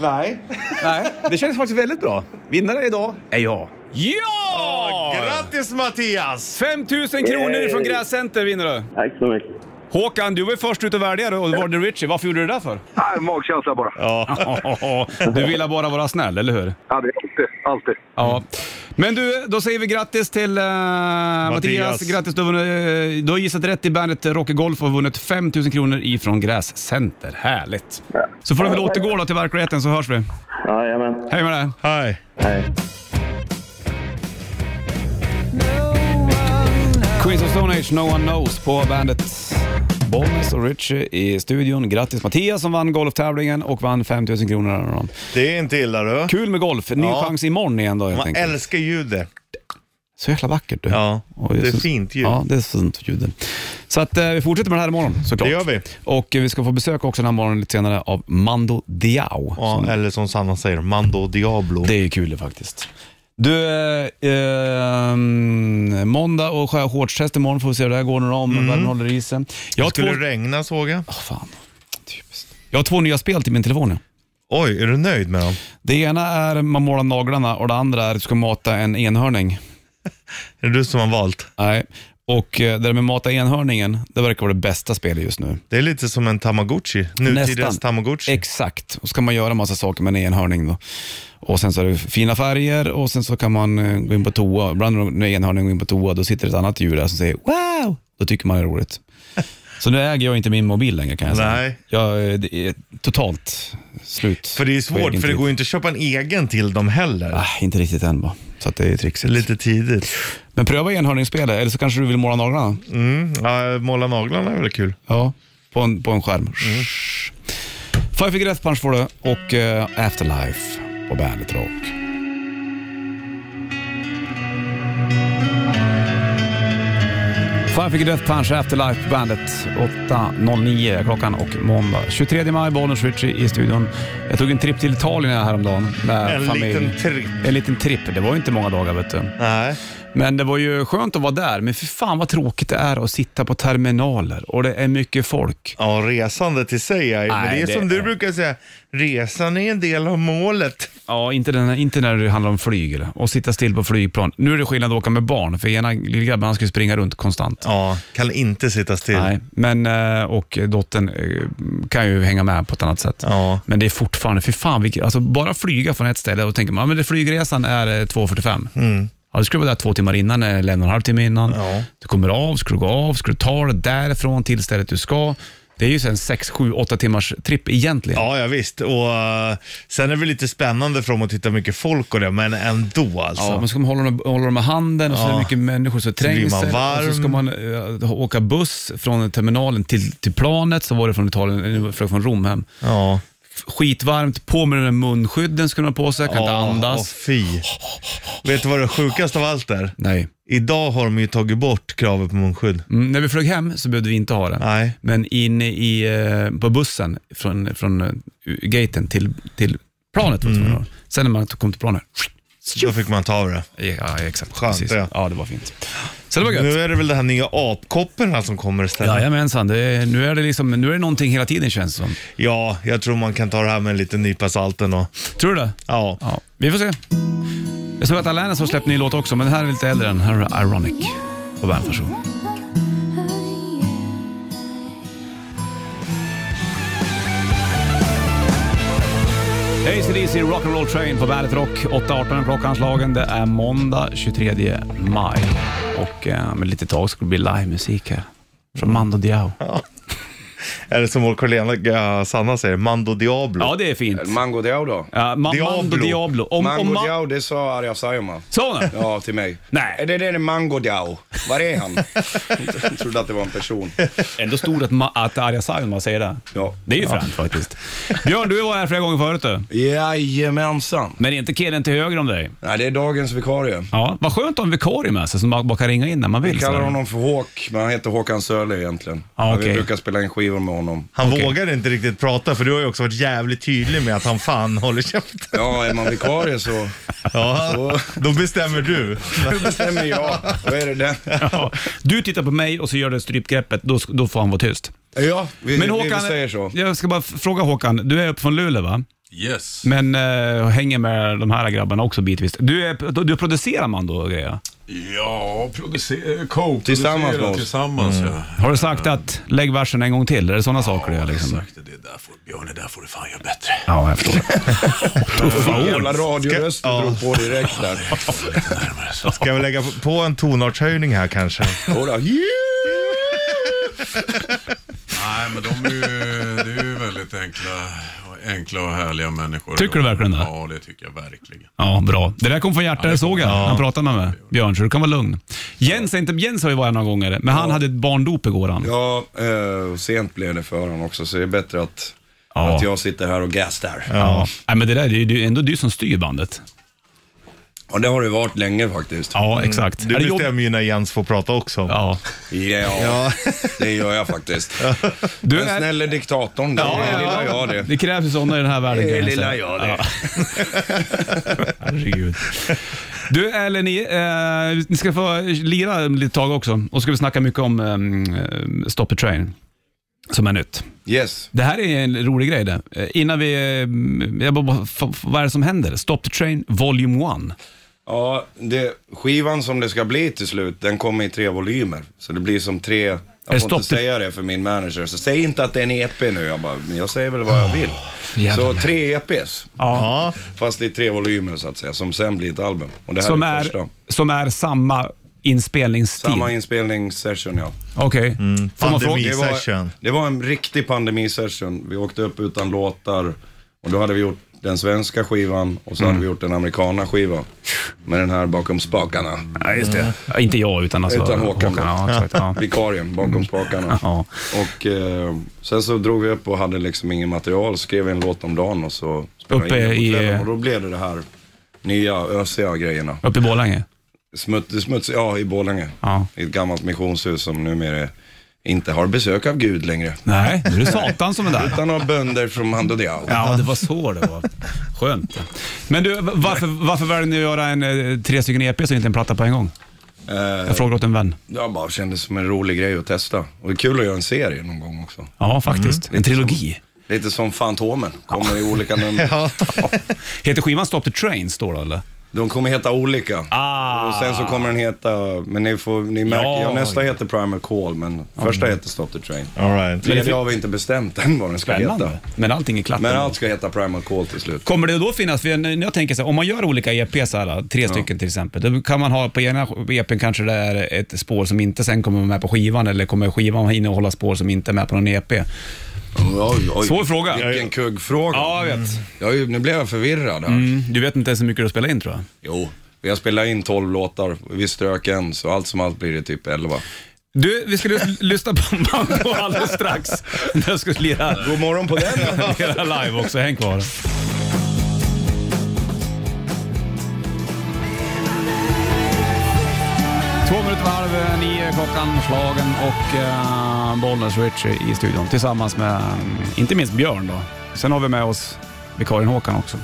C: Nej.
B: Nej, det känns faktiskt väldigt bra. Vinnare idag är jag. Ja!
C: Grattis Mattias!
B: 5 000 kronor från Gräscenter vinner du.
H: Tack så mycket.
B: Håkan, du var ju först ut att välja då, och det var det Richie. Varför gjorde du det
H: [LAUGHS]
B: där för?
H: Nej, magkänsla bara.
B: Du ville bara vara snäll, eller hur?
H: Ja, det är alltid, alltid.
B: Ja. Men du, då säger vi grattis till eh, Mattias.
C: Mattias.
B: Grattis, du har, vunnit, eh, du har gissat rätt i bandet Rocky Golf och vunnit 5 000 kronor ifrån Gräscenter. Härligt! Så får du väl återgå då till verkligheten så hörs vi.
H: Jajamän.
B: Hej med dig!
C: Hej.
H: Hej.
B: Queens of Stone Age, No One Knows på bandet. Bollnäs och Richie i studion. Grattis Mattias som vann golftävlingen och vann 5 000 kronor. av dem.
C: Det är inte illa du.
B: Kul med golf. Ny
C: Ja.
B: chans imorgon igen då helt
C: Man
B: enkelt.
C: älskar ljudet.
B: Så jäkla vackert du.
C: Ja,
B: Och
C: det är
B: så-
C: fint ljud.
B: Ja, det är fint ljud. Så att eh, vi fortsätter med det här imorgon såklart.
C: Det gör vi.
B: Och eh, vi ska få besök också den här morgonen lite senare av Mando Diao.
C: Ja,
B: Som,
C: eller som Sanna säger, Mando Diablo.
B: det är ju kul det faktiskt. Du, eh, eh, måndag och skär- shortstest imorgon får vi se hur det här går nu då, om världen håller i sig. Jag har, två,
C: Mm. skulle regna såg jag.
B: Åh, fan. Typiskt. jag har två nya spel till min telefon. Ja.
C: Oj, är du nöjd med dem?
B: Det ena är man målar naglarna och det andra är att du ska mata en enhörning.
C: Är det du som har valt?
B: Nej. Och eh, det där med mata enhörningen, det verkar vara det bästa spelet just nu.
C: Det är lite som en tamagotchi. Nutidens tamagotchi.
B: Exakt. Och så kan man göra massa saker med en enhörning. Då. Och sen så är det fina färger och sen så kan man eh, gå in på toa. Ibland när enhörningen går in på toa, då sitter ett annat djur där som säger wow. Då tycker man det är
C: [LAUGHS]
B: roligt. Så nu äger jag inte min mobil längre kan jag säga.
C: Nej.
B: Jag, eh, det är totalt slut.
C: För det är
B: på
C: svårt,
B: egen
C: för det
B: tid.
C: går ju inte att köpa en egen till dem heller.
B: Ah, inte riktigt än bara. Så att det är trixigt.
C: Lite tidigt.
B: Men pröva enhörningsspelet, eller så kanske du vill måla naglarna.
C: Mm. Ja, måla naglarna är väl kul.
B: Ja, på en, på en skärm.
C: Mm.
B: Five Finger Death Punch får du och eh, Afterlife på Bandet Rock. Five Finger Death Punch Afterlife på Bandet 8.09 klockan och måndag. 23 maj, Bollnäs Ritchie i studion. Jag tog en tripp till Italien häromdagen med
C: En
B: familj.
C: liten tripp.
B: En liten tripp. Det var ju inte många dagar vet du.
C: Nej.
B: Men det var ju skönt att vara där, men för fan vad tråkigt det är att sitta på terminaler och det är mycket folk.
C: Ja, resandet i sig är Men
B: Nej,
C: det är
B: det-
C: som du brukar säga, resan är en del av målet.
B: Ja, inte, den, inte när det handlar om flyg eller, och sitta still på flygplan. Nu är det skillnad att åka med barn, för ena lillgrabben han ska ju springa runt konstant.
C: Ja, kan inte sitta still.
B: Nej, men, eh, och dottern eh, kan ju hänga med på ett annat sätt.
C: Ja.
B: Men det är fortfarande, för fan, vilket, alltså, bara flyga från ett ställe och tänker man, ja, men det flygresan är eh, 2.45. Ja, du skulle vara där två timmar innan, eller en och en halv timme innan.
C: Mm. Ja.
B: Du kommer av, ska du gå av, ska du ta det därifrån till stället du ska. Det är ju sen 6, 7, 8 timmars tripp egentligen.
C: Ja, ja visst. Och, eh, sen är det lite spännande för dem att titta hur mycket folk och det, men ändå alltså.
B: Ja, man ska hålla dem, hålla dem med handen och så är det
C: Ja.
B: mycket människor så
C: blir man
B: trängs Och så
C: varm.
B: ska man eh, åka buss från terminalen till, till planet, så var det från Italien, eller från Rom hem.
C: ja.
B: Skitvarmt, på med den där munskydden skulle man ha på sig, kan inte
C: Ja,
B: andas.
C: åh, fy. Vet du vad det sjukaste av allt är?
B: Nej.
C: Idag har de ju tagit bort kravet på munskydd.
B: Mm, när vi flög hem så behövde vi inte ha den.
C: Nej.
B: Men inne i, eh, på bussen från, från eh, gaten till, till planet.
C: Mm.
B: var det som det var. Sen när man kom till planet.
C: Då fick man ta av det.
B: Ja, exakt.
C: Skönt,
B: Precis.
C: ja.
B: ja, det var fint. Så det var gött.
C: Nu är det väl det här nya apkopporna som kommer istället. Ja,
B: Jajamensan, det är, nu, är det liksom, nu är det någonting hela tiden känns det som.
C: jag tror man kan ta det här med en liten nypa salt ändå.
B: Tror du det?
C: Ja.
B: Ja, vi får se. Jag såg att Alanis har släppt ny låt också, men den här är lite äldre än. Här är Ironic på Bandet. Varsågod. AC/DC Rock'n'Roll Train på Bandet Rock. 8.18 är klockanslagen. Det är måndag 23 maj. Och eh, om ett litet tag ska det bli livemusik här. Från Mando Diao.
C: Eller som vår kollega eh, Sanna säger, Mando Diablo.
B: Ja, det är fint.
J: Mango Diablo.
B: Ja, ma-
C: Diablo.
B: Mando Diablo. Om,
J: Mango
B: om ma-
J: Diao, det sa Arja Saijonmaa.
B: Sa hon det?
J: Ja, till mig.
B: [LAUGHS] Nej.
J: Är det det är Mango Diao? Var är
B: [LAUGHS]
J: han? Jag trodde att det var en person.
B: Ändå stod det att, ma- att Arja Saijonmaa säger det.
J: Ja.
B: Det är ju fränt faktiskt. Björn, du var här flera gånger förut du.
J: Jajamensan.
B: Men det är inte killen till höger om dig.
J: Nej, det är dagens vikarie.
B: Ja, vad skönt att ha en vikarie med sig som bara bara kan ringa in när man vill.
J: Vi kallar
B: sådär.
J: honom för Håk, men han heter Håkan Sörli egentligen.
B: Ja,
J: Vi
B: Ah, okej.
J: brukar spela in skivor med honom.
C: Han
B: Okej.
C: vågar inte riktigt prata för du har ju också varit jävligt tydlig med att han fan [LAUGHS] håller käften.
J: Ja, är man vikarie så,
C: [LAUGHS] Ja,
J: så
C: då bestämmer du.
J: bestämmer jag. Då är det den.
B: Ja. Du tittar på mig och så gör du strypgreppet, då, då får han vara tyst.
J: Ja, vi,
B: Men
J: vi,
B: Håkan,
J: vi säger så.
B: jag ska bara f- fråga Håkan, du är uppe från Luleå va?
I: Yes.
B: Men eh, hänger med de här grabbarna också bitvis. Du, är, du producerar man då grejer?
K: Ja, producer- co-producera
B: Tillsammans med oss.
K: tillsammans
B: Mm.
K: ja.
B: Har du sagt att lägg versen en gång till? Är det sådana saker du gör liksom?
K: Björn, det där får du fan göra bättre.
B: Ja, jag förstår.
K: Tuffa
J: ord. Jävla radioröst du drog på direkt där.
C: Ska vi lägga på- på en tonartshöjning här kanske?
K: Nej, men de är ju, det är ju väldigt enkla, enkla och härliga människor.
B: Tycker du verkligen det?
K: Ja, det tycker jag verkligen.
B: Ja, bra. Det där kom från hjärtat, det såg jag. när Han pratade med mig, Björn, så du kan vara lugn. Jens, är inte, Jens har ju varit några gånger, men han hade ett barndop igår. Han.
J: Ja, eh, och sent blev det för honom också, så det är bättre att,
B: Ja.
J: att jag sitter här och gastar.
B: Ja. Nej, men det där det är ju det är ändå du som styr bandet.
J: Ja, det har det varit länge faktiskt.
B: Ja, exakt.
C: Du bestämmer ju när Jens får prata också.
B: Ja.
J: Ja, det gör jag faktiskt.
B: [LAUGHS] Du
J: Den snälle diktatorn, det är lilla jag det.
B: Det krävs ju sådana i den här världen.
J: Det är
B: kan
J: lilla
B: säga.
J: jag det.
B: Herregud. Du, eller ni, eh, ni ska få lira lite tag också. Och ska vi snacka mycket om eh, Stop the Train, som är nytt.
J: Yes.
B: Det här är en rolig grej det. Eh, Innan vi... eh, Jag bara, f- f- vad är det som händer? Stop the Train Volume 1.
J: Ja, det, skivan som det ska bli till slut, den kommer i tre volymer. Så det blir som tre, jag får
B: stopp
J: inte säga det för min manager. Så säg inte att det är en EP nu, jag bara, men jag säger väl vad jag vill.
B: jävlar.
J: så tre E EPs.
B: Ja.
J: Fast i tre volymer så att säga, som sen blir ett album. Och det här
B: Som
J: är, det
B: är,
J: första.
B: som är samma inspelningstid.
J: Samma inspelningssession ja.
B: Okej. Får man fråga-
J: Det var- Det var en riktig pandemisession. Vi åkte upp utan låtar och då hade vi gjort den svenska skivan och så
B: Mm.
J: hade vi gjort den amerikana skivan. Med den här bakom spakarna. Mm.
B: Ja, just det. Ja, inte jag, utan alltså-
J: Utan Håkan.
B: Håkan, ja, exakt,
J: [LAUGHS]
B: ja.
J: Vikarien
B: [LAUGHS]
J: bakom spakarna. Och eh, sen så drog vi upp och hade liksom ingen material, skrev en låt om dagen och så spelade
B: Uppe
J: in den på
B: i-
J: kvällen. Och då blev det det här nya ösiga grejerna.
B: Uppe i Borlänge?
J: Smuts, smuts, ja, i Borlänge. I ett gammalt missionshus som numera inte har besök av Gud längre.
B: Nej, nu är det Satan som är där.
J: Utan av bönder från Handodiao.
B: Ja, det var så det var. Skönt. Men du, v- varför, varför väljer ni att göra en, eh, tre stycken EPs och inte en platta på en gång? Jag frågar åt en vän.
J: Jag bara kände som en rolig grej att testa. Och det är kul att göra en serie någon gång också.
B: Ja, faktiskt. En trilogi.
J: Lite som Fantomen, kommer
B: [LAUGHS]
J: i olika nummer.
C: [LAUGHS]
B: Heter skivan Stop the Trains då, då eller?
J: De kommer heta olika. Och sen så kommer den heta, men ni får, ni märker,
B: Ah. Ja.
J: ja. nästa heter Primal Call, men första heter Stop the Train.
B: All right.
J: Tredje har vi inte bestämt än vad den ska
B: Spännande.
J: heta.
B: Men allting är klart.
J: Men allt ska heta Primal Call till slut.
B: Kommer det då finnas, för när jag tänker så här, om man gör olika EPs, så här, tre stycken till exempel, då kan man ha på ena EPn kanske det är ett spår som inte sen kommer med på skivan eller kommer skivan innehålla spår som inte är med på någon E EP?
J: Oj, oj.
B: Svår fråga.
J: Vilken kuggfråga.
B: Ja, jag vet.
J: Ja, ju- nu blev jag förvirrad här.
B: Mm, du vet inte ens hur mycket du spelar in tror jag.
J: Jo, vi har spelat in 12 låtar, vi strök en, så allt som allt blir det typ 11.
B: Du, vi ska lys- lyssna på Mambo alldeles strax. När jag ska lira.
J: God morgon på den.
B: lira live också, häng kvar. Två minuter varv, eh, nio klockan, slagen och eh, Bollnäs Richie i studion tillsammans med, eh, inte minst Björn då. Sen har vi med oss vikarien Håkan också.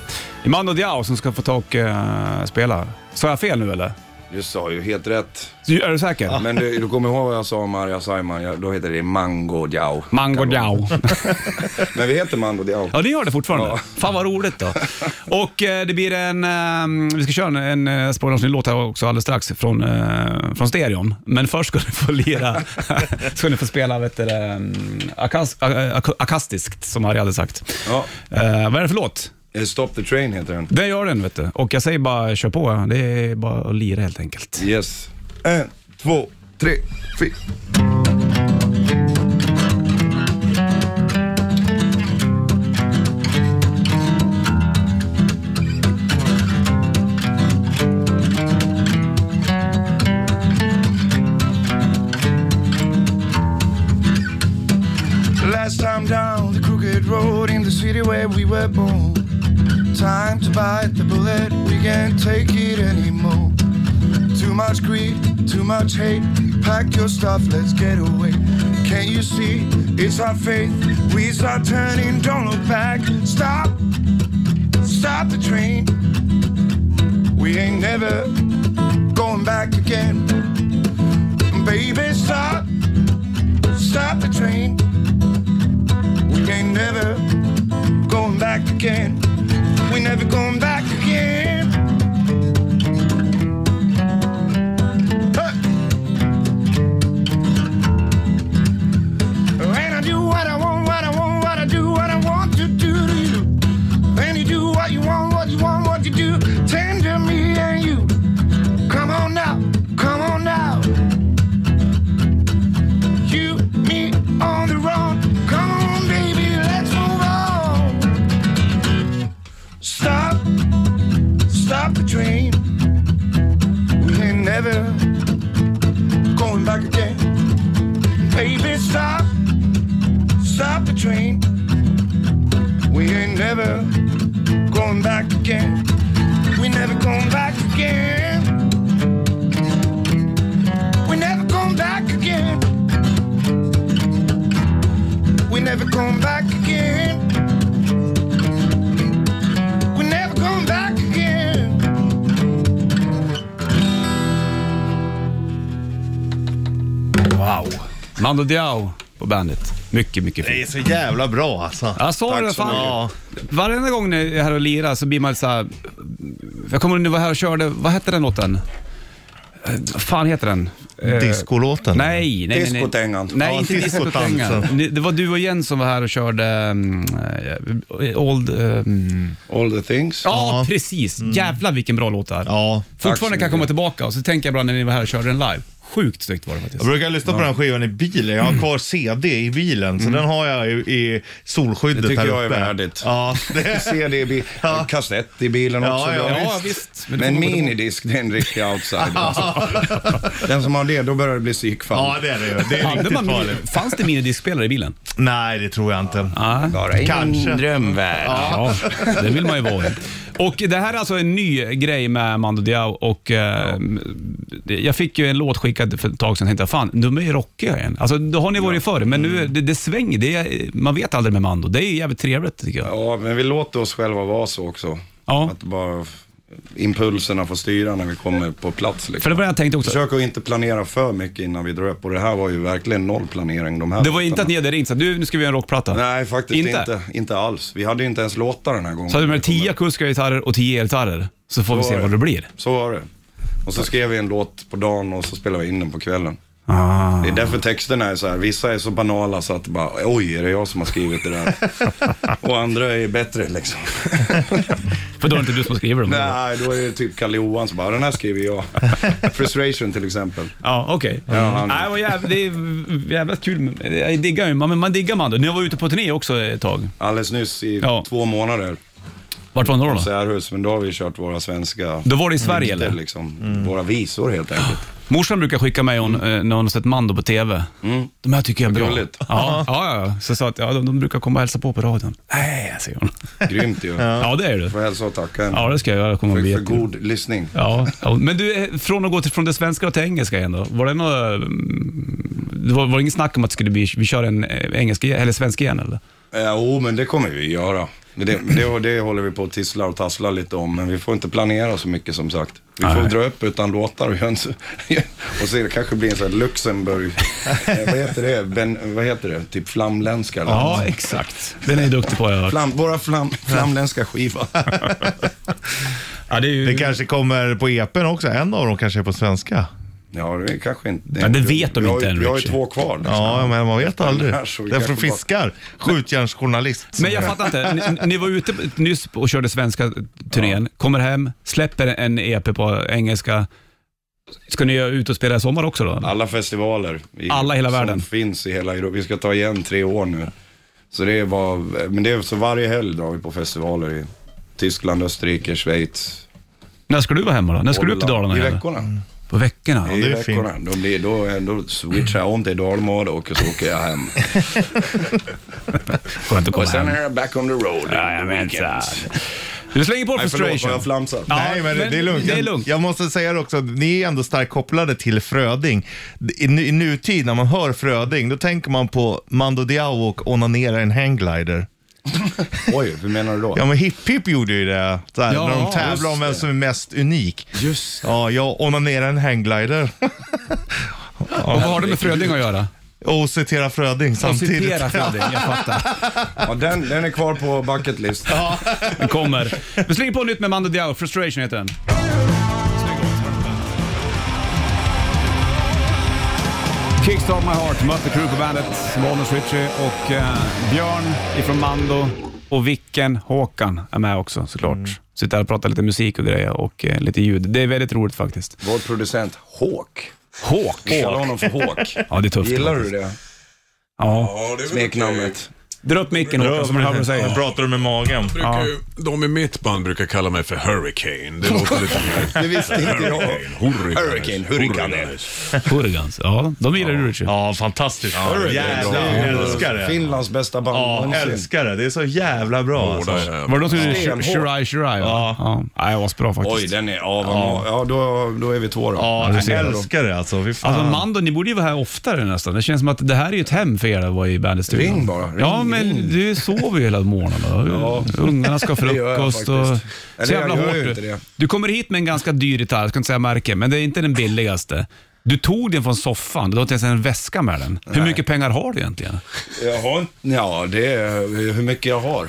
B: Imando Diao som ska få ta och eh, spela. Sa jag fel nu eller?
J: [LAUGHS] Du sa ju helt rätt.
B: Du- Är du säker?
J: Men du, du kommer ihåg vad jag sa om Arja Saiman, Jag- då heter det Mango Diao.
B: Mango Diao.
J: Men vi heter Mango Diao.
B: Ja, det gör det fortfarande. Fan vad roligt då. [LAUGHS] Och eh, det blir en, ehm, vi ska köra en, en eh, spårdomsny-låt här också alldeles strax från, eh, från stereon. Men först ska ni få lira, [LAUGHS] ska ni få spela vet du, ehm, akas, a, a, akastiskt som Harry hade sagt.
J: Ja.
B: Eh, vad är det för låt?
J: Eh, Stop the Train heter den.
B: Den gör den vet du. Och jag säger bara kör på, ja. det är bara att lira helt enkelt.
J: Yes. En, två, tre, fyra.
L: Last time down the crooked road in the city where we were born. Time to bite the bullet, we can't take it anymore. Too much greed, too much hate. Pack your stuff, let's get away. Can you see? It's our faith. We start turning, don't look back. Stop, stop the train. We ain't never going back again. Baby, stop, stop the train. We ain't never going back again. We never going back again. going back again. Baby, stop, stop the train. We ain't never going back again. We never going back again. We never going back again. We never going back again. We never going back again.
B: Wow. Mando Diao på bandet. Mycket, mycket fint.
C: Det är så jävla bra alltså.
B: Jag sa
C: Tack
B: det
C: så
B: fan.
C: mycket.
B: Varenda gång när jag är här och lirar så blir man så här. Jag kommer nu var här och körde, vad hette den låten? Eh, Vad fan heter den? Eh,
C: Discolåten?
B: Nej, nej, nej. nej.
J: Discotängan.
B: Nej,
J: Ja,
B: inte
J: discotansen.
B: discotängan. Ni- Det var du och Jens som var här och körde mm, eh, Old... Um...
J: All the things. [LAUGHS]
B: Ja, precis. Jävlar vilken bra låt det är. Ja, Fortfarande
C: så
B: kan
C: mycket.
B: komma tillbaka och så tänker jag bara när ni var här och körde den live. Sjukt snyggt var det faktiskt.
C: Jag brukar lyssna på den här skivan i bilen. Jag har kvar CD i bilen, så den har jag i, i solskyddet
J: Det tycker
C: här
J: jag är
C: uppe.
J: värdigt.
C: Ja, det...
J: [LAUGHS] CD i bilen, kassett i bilen
C: Ja,
J: också.
C: ja,
J: bra.
C: visst. Ja, visst. Men
J: Men,
C: det får man inte-
J: minidisk, det är en riktig
B: [LAUGHS]
J: outsider. alltså. Den som har det, då börjar det bli
C: [LAUGHS]
J: psykfall.
C: Ja, det är det ju. Det är riktigt [LAUGHS] farligt.
B: Fanns det minidiskspelare i bilen?
C: Nej, det tror jag inte.
J: Bara i
C: Kanske.
J: min drömvärld.
B: Ja, det vill man ju vara i. Och det här är alltså en ny grej med Mando Diao och eh, jag fick ju en låt skickad för ett tag sedan och tänkte fan, de är ju rockiga igen. Alltså, det har ni varit förr, men
J: Mm.
B: nu, det, det svänger. Det är, man vet aldrig med Mando. Det är ju jävligt trevligt tycker jag.
J: Ja, men vi låter oss själva vara så också. Att bara f- impulserna får styra när vi kommer på plats. Liksom.
B: För det var det jag tänkte också.
J: Försök att inte planera för mycket innan vi drar upp. Och det här var ju verkligen noll planering. De här
B: Det var inte
J: låtarna.
B: att ni hade ringt så du, nu ska vi göra en rockplatta.
J: Nej, faktiskt
B: Inte?
J: inte. inte. alls. Vi hade ju inte ens låtar den här gången.
B: Så hade man tio akustiska gitarrer och tio elgitarrer, så får vi
J: Så
B: se
J: var
B: vad det blir.
J: Så var det. Och så skrev vi en låt på dagen och så spelade vi in den på kvällen.
B: Ah.
J: Det är därför texterna är så här. Vissa är så banala så att det bara, oj, är det jag som har skrivit
B: [LAUGHS]
J: det där? och andra är bättre liksom.
B: För då är det inte du som skriver dem.
J: Nej, då är det typ Kalle Johan som bara, den här skriver
B: [LAUGHS]
J: jag. Frustration till exempel.
B: Ja, okej.
J: Ja, han-
B: Nej, vad jävligt, det är jävligt kul. med- Jag diggar ju, man, man diggar Mando. Ni var ute på turné också ett tag.
J: Alldeles nyss i
B: Ja.
J: två månader.
B: Vart var ni då? då?
J: Särhus, men då har vi kört våra svenska
B: Då var det Mm. i Sverige,
J: dikter,
B: eller?
J: Liksom. Våra visor helt enkelt.
B: [LAUGHS] Morsan brukar skicka mig hon, eh, när hon har sett Mando på TV. De här tycker jag är bra.
J: Mm. Gulligt.
B: Ja, ja, ja. Så jag sa att ja, de, de brukar komma och hälsa på på radion. Nej, säger hon.
J: Grymt ju.
B: Ja, det är det.
J: Får hälsa och tacka henne.
B: Ja, det ska jag göra. Det kommer att bli
J: för, för
B: jättekul.
J: god lyssning.
B: Ja, ja. men du, eh, från att gå till, från det svenska till engelska igen då. Var det något, mm, det var, var det inget snack om att det skulle bli, vi kör en eh, engelska, eller svenska igen eller?
J: Jo, eh, jo, men det kommer vi göra. Men Det, det, det håller vi på att tissla och tassla lite om, men vi får inte planera så mycket som sagt. Vi får dra upp utan låtar och, göra en, så- [LAUGHS] och se, det kanske blir en sån
B: [LAUGHS]
J: här Luxemburg, eh, vad heter det, ben, vad heter det, typ flamländska eller
B: Ja,
J: något.
B: exakt. Den är jag duktig på. Jag.
J: Flam, våra flam, flamländska skiva. [LAUGHS]
B: Ja, det, är ju...
C: det kanske kommer på EPn också. En av dem kanske är på svenska.
J: Ja, det är kanske inte...
B: Ja, det vet de
J: vi har,
B: inte
J: ju-
B: än,
J: Vi har ju
B: Richie.
J: två kvar. liksom.
C: Ja, men man vet aldrig.
J: Annars så vi
C: Det är från
J: kanske bara-
C: fiskar. Skjutjärnsjournalist.
B: Men jag fattar inte. Ni, ni var ute nyss och körde svenska turnén, kommer hem, släpper en EP på engelska. Ska ni ut och spela i sommar också då?
J: Alla festivaler. i-
B: Alla i hela världen.
J: Som finns i hela Europa. Vi ska ta igen tre år nu. Så det var, men det är så varje helg drar vi på festivaler i Tyskland, Österrike, Schweiz.
B: När ska du vara hemma då? När ska du upp till Dalarna? Mm.
J: I
B: eller?
J: veckorna.
B: På veckorna?
J: I veckorna. Då, blir, då, då switchar jag om till dalmål och så åker
B: [LAUGHS]
J: jag hem.
B: Skönt att komma
J: och sen
B: hem.
J: är jag back on the road. Jajamensan.
B: Du slänger på
J: Nej, förlåt vad
B: frustration.
J: jag flamsar.
C: Nej, men, det är lugnt.
B: Det är lugnt.
C: Jag, jag måste säga det också, ni är ändå starkt kopplade till Fröding. I, nu- I nutid när man hör Fröding, då tänker man på Mando Diao och onanera i en hangglider.
J: Oj, hur menar du då?
C: Ja, men Hipp Hipp gjorde ju det, så här,
B: Ja,
C: när de
B: just
C: tävlar om vem som är mest unik. Just Ja, jag onanerar i en hangglider.
B: Och vad har det med Fröding att göra?
C: och citera Fröding
B: Och
C: samtidigt.
B: citera Fröding, jag fattar.
J: Ja, den, den är kvar på bucket list.
B: Den kommer. Vi slänger på nytt med Mando Diao. Frustration heter den. Kickstart My Heart, Mötte Crew på bandet, Bonus Richie och eh, Björn ifrån Mando och Vicken Håkan är med också såklart.
J: Mm.
B: Sitter här och pratar lite musik och grejer och eh, lite ljud. Det är väldigt roligt faktiskt.
J: Vår producent Hawk.
B: Håk.
J: Vi kallar honom för Hawk.
B: Ja, det är tufft.
J: Gillar du
B: faktiskt.
J: det?
B: Ja.
K: Ja, det är väl okej.
J: Smeknamnet.
B: Dra upp micken Håkan, så man hör vad du säger. [LAUGHS]
K: pratar med magen.
B: Ja.
K: Brukar, ju- de i mitt band brukar kalla mig för Hurricane. Det låter lite
B: [LAUGHS]
K: mer...
J: Det visste inte jag.
K: Hurricane.
J: Hurricane, Hurricanes.
B: Hurrigans, ja. De gillar du Richard.
C: Ja, fantastiskt.
J: Hurricane.
C: Jävlar, jag
J: Det är
C: älskar det.
J: Finlands bästa band
C: Ja,
J: någonsin.
C: älskar det. Det är så jävla bra alltså.
B: Var det då som gjorde Shir-
J: Stenhård.
B: Shirai Shirai? va?
J: Ja.
B: ja. Nej, det var så bra faktiskt.
J: Oj, den är... Ja, ja. ja då, då är vi två då.
B: Ja, du ser.
C: det alltså. Fy
B: Alltså Mando, ni borde ju vara här oftare nästan. Det känns som att det här är ju ett hem för er att vara i Bandit-studion.
J: Ring bara, ring,
B: ja, men du sover ju hela
J: [LAUGHS]
B: morgonen. Ja. Ungarna ska ha
J: Det gör jag
B: frukost och...
J: faktiskt. Eller
B: Så
J: jag
B: jävla
J: gör
B: hårt
J: ju inte
B: du.
J: det.
B: Du kommer hit med en ganska dyr gitarr, jag ska inte säga märke, men det är inte den billigaste. Du tog den från soffan, du har inte ens en väska med den. Hur mycket pengar har du egentligen?
J: Jag har inte... Ja, det är hur mycket jag har.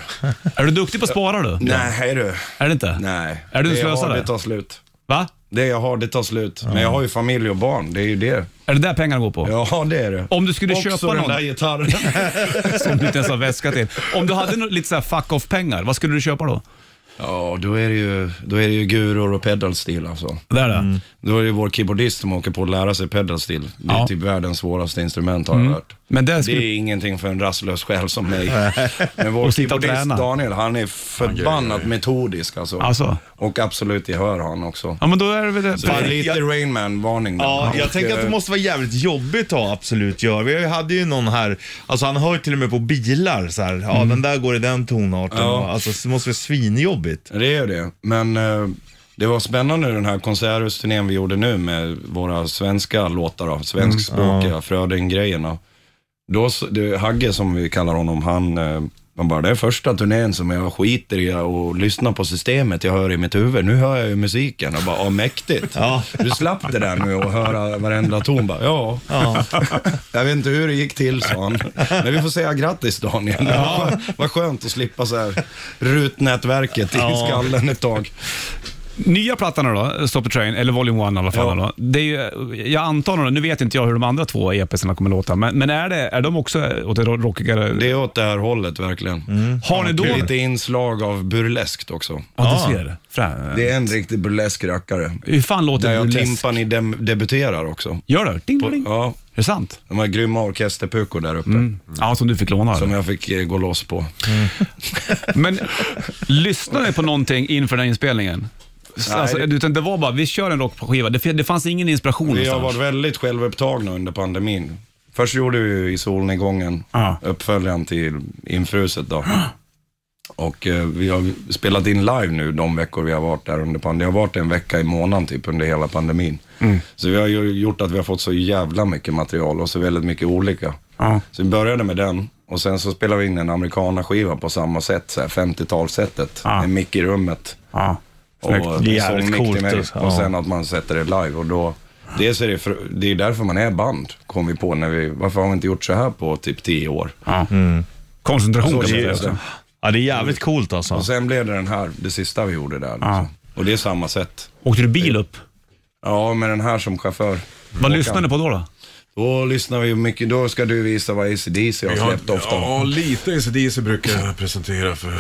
B: Är du duktig på att spara du?
J: Nej, hej du.
B: Är det inte?
J: Nej.
B: Är du en
J: det jag har,
B: slösare?
J: det tar slut.
B: Va?
J: Det jag har, det tar slut. Men jag har ju familj och barn. Det är ju det.
B: Är det där pengarna går på?
J: Ja, det är det.
B: Om du skulle
J: Också
B: köpa
J: den
B: någon-
J: där gitarren.
B: Som du inte ens har väska till. Om du hade nå- lite så här fuck off-pengar, vad skulle du köpa då?
J: Ja, då är det ju, då är det ju guror och pedalstil alltså.
B: Det är det.
J: Då är det vår keyboardist som åker på att lära sig pedalstil. Det är
B: Ja.
J: typ världens svåraste instrument har
B: Mm.
J: jag hört.
B: Men det,
J: är ingenting för en rastlös själ som mig. Men vår
B: Och sitta och
J: keyboardist
B: träna.
J: Daniel, han är förbannat metodisk alltså.
B: Alltså.
J: Och absolut gehör har han också.
B: Ja, men då är det väl det.
J: Så det är lite Rainman-varning.
C: [LAUGHS] Ja, jag tänker
J: eh,
C: att det måste vara jävligt jobbigt att ha absolut gör. Vi hade ju någon här, alltså han hör ju till och med på bilar så här. Ja,
J: Mm.
C: den där går i den tonarten.
J: Ja.
C: Alltså det måste vara svinjobbigt.
J: Det är ju det, men eh, det var spännande den här konserthusturnén vi gjorde nu med våra svenska låtar, då,
B: Mm.
J: svenskspråkiga, Fröding-grejerna. Då, s- det, Hagge som vi kallar honom, han, eh, han bara, det är första turnén som jag skiter i och lyssnar på systemet jag hör i mitt huvud. Nu hör jag ju musiken och bara, ja mäktigt. Du slapp det där nu och höra varenda ton. Bara, ja.
C: Ja.
J: [LAUGHS] jag vet inte hur det gick till, sa han. Men vi får säga grattis Daniel.
C: Ja.
J: [LAUGHS] Vad skönt att slippa så här rutnätverket i
B: Ja.
J: skallen ett tag.
B: Nya plattan nu då, Stop the Train, eller Volume 1 i alla fall. Då. Det är ju, jag antar, nu- nu vet inte jag hur de andra två EPsarna kommer låta, men, men är, det, är de också åt det rockigare?
J: Det är åt det här hållet verkligen.
B: Har ni då...
J: Och Lite inslag av burleskt också.
B: Ja, du ser. Frä-
J: Det är en riktig burlesk rackare.
B: Hur fan låter
J: Där jag
B: burlesk?
J: Timpani dem- debuterar också.
B: Gör det? Ding, ding.
J: Ja.
B: Är det sant?
J: De här grymma orkesterpukor där uppe.
B: Mm. Ja, som du fick låna.
J: Som
B: eller?
J: jag fick eh, gå loss på.
B: Men lyssnade ni på någonting inför den här inspelningen?
J: Nej,
B: Alltså,
J: det-
B: utan det var bara, vi kör en rockskiva. Det, det fanns ingen inspiration
J: Vi har
B: någonstans.
J: varit väldigt självupptagna under pandemin. Först gjorde vi ju I solnedgången,
B: Ah.
J: uppföljaren till Infruset då. Och eh, vi har spelat in live nu de veckor vi har varit där under pandemin. Det har varit en vecka i månaden typ under hela pandemin.
B: Mm.
J: Så vi har ju gjort att vi har fått så jävla mycket material och så väldigt mycket olika.
B: Ja.
J: Så vi började med den och sen så spelade vi in en amerikana-skiva på samma sätt, så här 50-talssättet.
K: Ah.
J: En mick i rummet. Och
B: Snyggt.
J: en
B: Det är jävligt
J: sångmick
B: coolt,
J: till mig.
B: alltså.
J: Och
B: Ja.
J: sen att man sätter det live och då Dels är det, för, det är därför man är band, kom vi på. När vi, varför har vi inte gjort så här på typ tio år?
B: Koncentration kan man
J: Så
B: säga
J: känns det.
B: också.
C: Ja, det är jävligt coolt alltså.
J: Och sen blev det den här, det sista vi gjorde
K: Ah.
J: där. liksom. Och det är samma sätt.
B: Åkte du bil upp?
J: Ja, med den här som chaufför.
B: Vad lyssnade ni på då? Då,
J: då lyssnar vi mycket, då ska du visa vad ACDC har
K: Vi har-
J: släppt ofta.
K: Ja, lite ACDC brukar jag presentera för,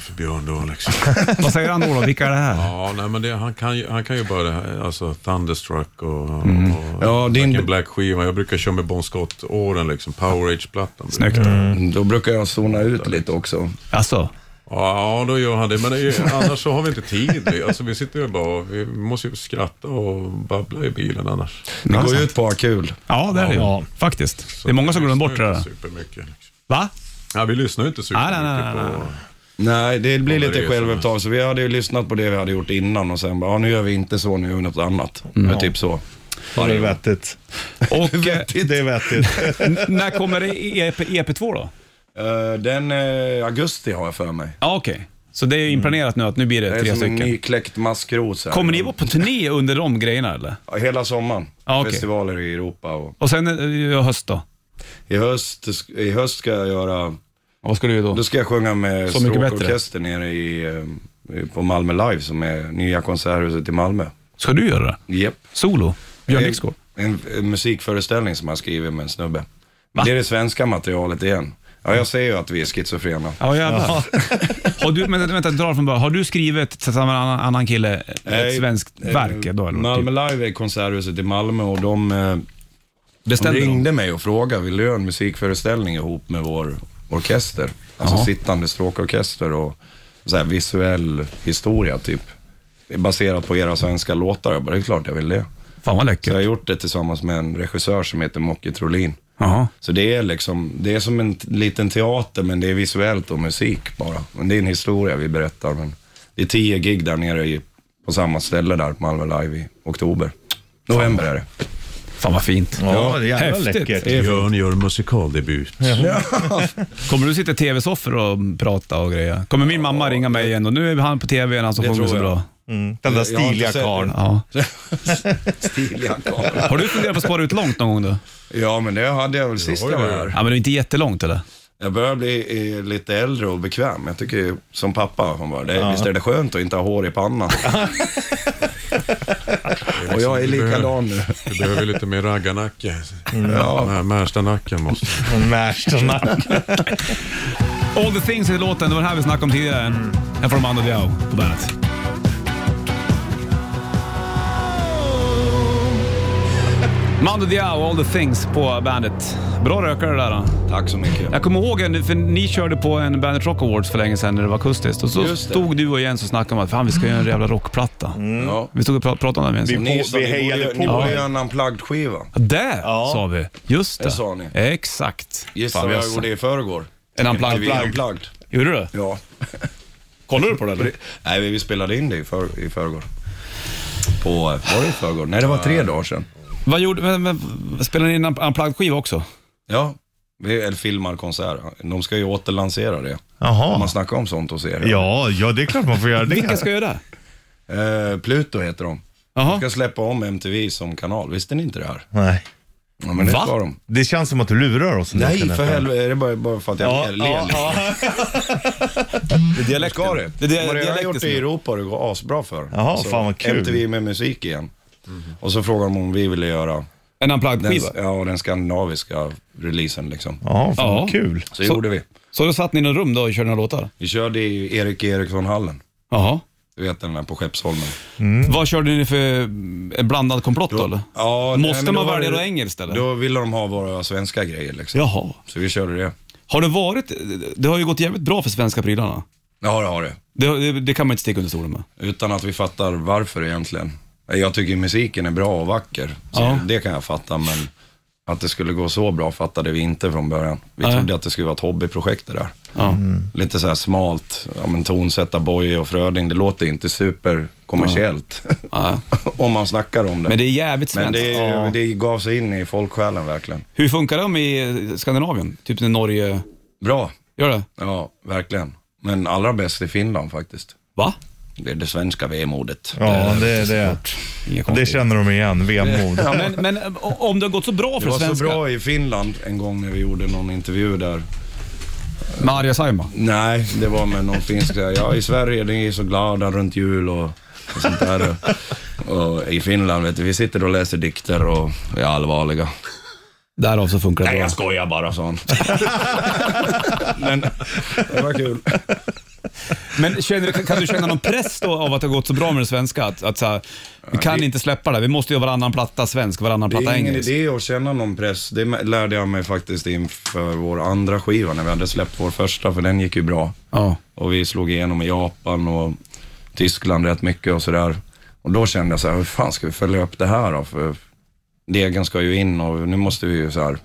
K: för Björn då. Liksom.
B: Vad säger han då? då? Vilka är det här?
K: Ja, nej, men det, han, kan ju, han kan ju bara det här, alltså Thunderstruck och,
B: Mm.
K: och
J: Ja, din-
K: Black and Black-skivan. Jag brukar köra med Bon Scott-åren, liksom. Power Age-plattan.
B: Snyggt.
J: Mm. Då brukar jag zona ut lite också.
B: Alltså?
K: Ja, då gör han det. Men det är ju- annars så har vi inte tid. Alltså, vi sitter ju bara och vi måste ju skratta och babbla i bilen annars.
J: Det går ju ut på att ha kul.
B: Ja, det är det ju.
K: Ja.
B: Faktiskt. det är många som glömmer bort det där.
K: Supermycket. Liksom.
B: Va?
K: Ja, vi lyssnar ju inte supermycket
B: Nej, nej, nej, nej,
K: på...
J: Nej, det blir
K: Ja,
J: lite
K: det är så.
J: självupptag. Så vi hade ju lyssnat på det vi hade gjort innan och sen bara, ja nu gör vi inte så, nu gör vi något annat.
B: Mm.
J: Ja, Typ så.
C: Ja, det är vettigt.
B: Och, eh,
C: det är
J: [LAUGHS]
C: vettigt.
B: N- när kommer det E EP, EP2 då?
J: Eh, den eh, augusti har jag för mig.
B: Ja, okej. Så det är inplanerat nu att nu blir det,
J: Det är
B: tre
J: som en
B: stycken.
J: nykläckt maskros. här.
B: Kommer ni vara på turné under de grejerna eller?
J: Ja, Hela sommaren.
B: Ja, okej.
J: Festivaler i Europa och...
B: Och sen eh, höst då?
J: I höst, I höst ska jag göra...
B: Vad ska du göra då?
J: Då ska jag sjunga med
B: Så mycket bättre.
J: stråkorkester nere i, eh, på Malmö Live, som är nya konserthuset i Malmö.
B: Ska du göra det?
J: Japp.
B: Solo? Björn
J: En-
B: Dixgård?
J: En, en musikföreställning som jag skriver med en snubbe. Det är det svenska materialet igen. Ja, jag säger ju att vi är schizofrena.
B: Ja, jävlar. [LAUGHS] Har du, men, vänta, dra från början. Har du skrivit tillsammans med en annan, annan kille ett
J: Nej,
B: svenskt
J: eh,
B: verk? Då, eller? typ?
J: Malmö Live är konserthuset i Malmö och de, eh, de
B: stämmer.
J: ringde mig och frågade, vill du göra en musikföreställning ihop med vår orkester. Alltså sittande stråkorkester och så här visuell historia typ. Det är baserat på era svenska låtar. Jag bara, det är klart jag vill det.
B: Fan vad läckert.
J: Så jag har gjort det tillsammans med en regissör som heter Mocke Trolin.
B: Jaha.
J: Så det är liksom, det är som en t- liten teater men det är visuellt och musik bara. Men det är en historia vi berättar. Men det är tio gig där nere i, på samma ställe där, på Malmö Live i oktober. November är det.
B: Fan vad fint.
K: Ja, det är jävla läckert. Björn gör musikaldebut.
B: Kommer du sitta i tv-soffor och prata och grejer? Kommer min mamma ringa mig igen och nu är han på tv igen, han som
J: Det
B: sjunger så
J: tror jag.
B: bra.
J: Mm. Den där Jag har inte stiliga sett karln.
B: Ja.
J: Stiliga karln.
B: Har du funderat på att spara ut långt någon gång då?
J: Ja, men det hade jag väl sist jag var här.
B: Ja, men det är inte jättelångt eller?
J: Jag börjar bli eh, lite äldre och bekväm. Jag tycker ju, som pappa, hon bara, det,
B: Ja.
J: visst är det skönt att inte ha hår i [LAUGHS] pannan? och jag är likadan nu.
K: Du behöver lite mer raggarnacke.
J: Mm.
K: Ja. Den här Märstanacken måste...
J: [LAUGHS]
C: Märstanacken.
B: All the things i låten, det var den här vi snackade om tidigare. Här får de Mando Diao på bandet. Mando Diao, All the things på bandet. Bra rökare det där. Då.
J: Tack så mycket.
B: Jag kommer ihåg, en- för ni körde på en Bandet Rock Awards för länge sedan när det var akustiskt. Och så
J: Just det. Mm.
B: stod du och Jens och snackade om att fan vi ska göra en jävla rockplatta.
J: Ja.
B: Vi stod och pra- pratade om det. Jens.
J: Och ni sa, ni borde göra- Ni borde göra
B: Ja.
J: en unplugged-skiva.
B: Där
J: Ja.
B: sa vi. Just det.
J: Det sa ni.
B: Exakt.
J: Gissa
B: Fan,
J: vad
B: vi har
J: jag gjorde
B: sagt-
J: i förrgår.
B: En unplugged.
J: Vi unplugged.
B: Gjorde du det?
J: Ja.
B: Kollade du på det eller?
J: [LAUGHS] Nej, vi spelade in det i, för, i förrgår. På, var det i förrgår? Nej, det var tre dagar sedan.
B: Vad gjorde, men, men, spelade ni in en unplugged-skiva också?
J: Ja, vi, eller filmar konsert. De ska ju återlansera det.
C: Jaha.
J: Man snackar om sånt hos er.
C: Ja, ja, det är klart man får göra det.
J: Vilka
B: ska göra
J: det? Eh, Pluto heter de.
B: De
J: ska släppa om MTV som kanal. Visste ni inte det här?
C: Nej.
J: Ja, men det
C: Va?
J: ska de.
C: Det känns som att du lurar oss.
J: Nej, för helvete. Är det bara, bara för att jag
C: Ja,
J: ler? ler
C: ja,
J: lite?
B: Det är dialekten.
J: Ska det?
B: Det är dia-
J: De har redan
B: dialekten
J: gjort
B: som
J: det i
B: är-
J: Europa och det går asbra för.
B: Jaha,
J: Så
B: fan vad kul.
J: MTV med musik igen. Och så frågade de om vi ville göra
B: En unplugged-skiva?
J: den, ja, den skandinaviska releasen liksom. Så, gjorde vi.
B: Så då satt ni i något rum då och körde några låtar?
J: Vi körde i Erik Eriksson-hallen.
B: Jaha.
J: Du vet den där på Skeppsholmen.
B: Vad körde ni för eh, blandad komplott då, eller?
J: Mm. Ja, nej,
B: Måste
J: men
B: man
J: då var
B: välja
J: det-
B: då engelskt eller?
J: Då ville de ha våra svenska grejer liksom.
B: Jaha.
J: Så vi körde det.
B: Har det varit, det har ju gått jävligt bra för svenska prylarna.
J: Ja, det har det.
B: Det, det, det kan man inte sticka under stolen med.
J: Utan att vi fattar varför egentligen. Jag tycker musiken är bra och vacker. Så
B: Ja.
J: Det kan jag fatta, men att det skulle gå så bra fattade vi inte från början. Vi
B: Nej.
J: trodde att det skulle vara ett hobbyprojekt det där.
B: Ja.
J: Lite så här smalt, ja, men tonsätta Boje och Fröding. Det låter inte superkommersiellt. [LAUGHS] om man snackar om det.
B: Men det är jävligt
J: Men
B: svenskt.
J: det, är-
B: Ja.
J: det gav sig in i folksjälen verkligen.
B: Hur funkar de i Skandinavien? Typ i Norge?
J: Bra.
B: Gör det?
J: Ja, verkligen. Men allra bäst i Finland faktiskt.
B: Va?
J: Det är det svenska vemodet.
C: Ja, det, det, det känner de igen, vemod.
J: Ja,
B: Men, men eh, om det har gått så bra
J: Det
B: för
J: var
B: svenska?
J: så bra i Finland en gång när vi gjorde någon intervju där.
B: Med Arja Saijonmaa?
J: Nej, det var med någon finsk. där. Ja, i Sverige ni är så glada runt jul och, och sånt [LAUGHS] där. Och i Finland, vet du, vi sitter och läser dikter och är allvarliga.
B: Därav så funkar det
J: Nej, jag skojar bara, sa [LAUGHS] han. Men det var kul.
B: Men känner, du- kan du känna någon press då av att det har gått så bra med det svenska? Att, att så här, vi kan inte släppa det, vi måste göra varannan platta svensk, varannan
J: Det
B: platta
J: är ingen
B: engelsk.
J: idé att känna någon press. Det lärde jag mig faktiskt inför vår andra skiva när vi hade släppt vår första, för den gick ju bra.
B: Ja.
J: Och vi slog igenom i Japan och Tyskland rätt mycket och sådär. Och då kände jag så här, hur fan ska vi följa upp det här då? För degen ska ju in och nu måste vi ju så här,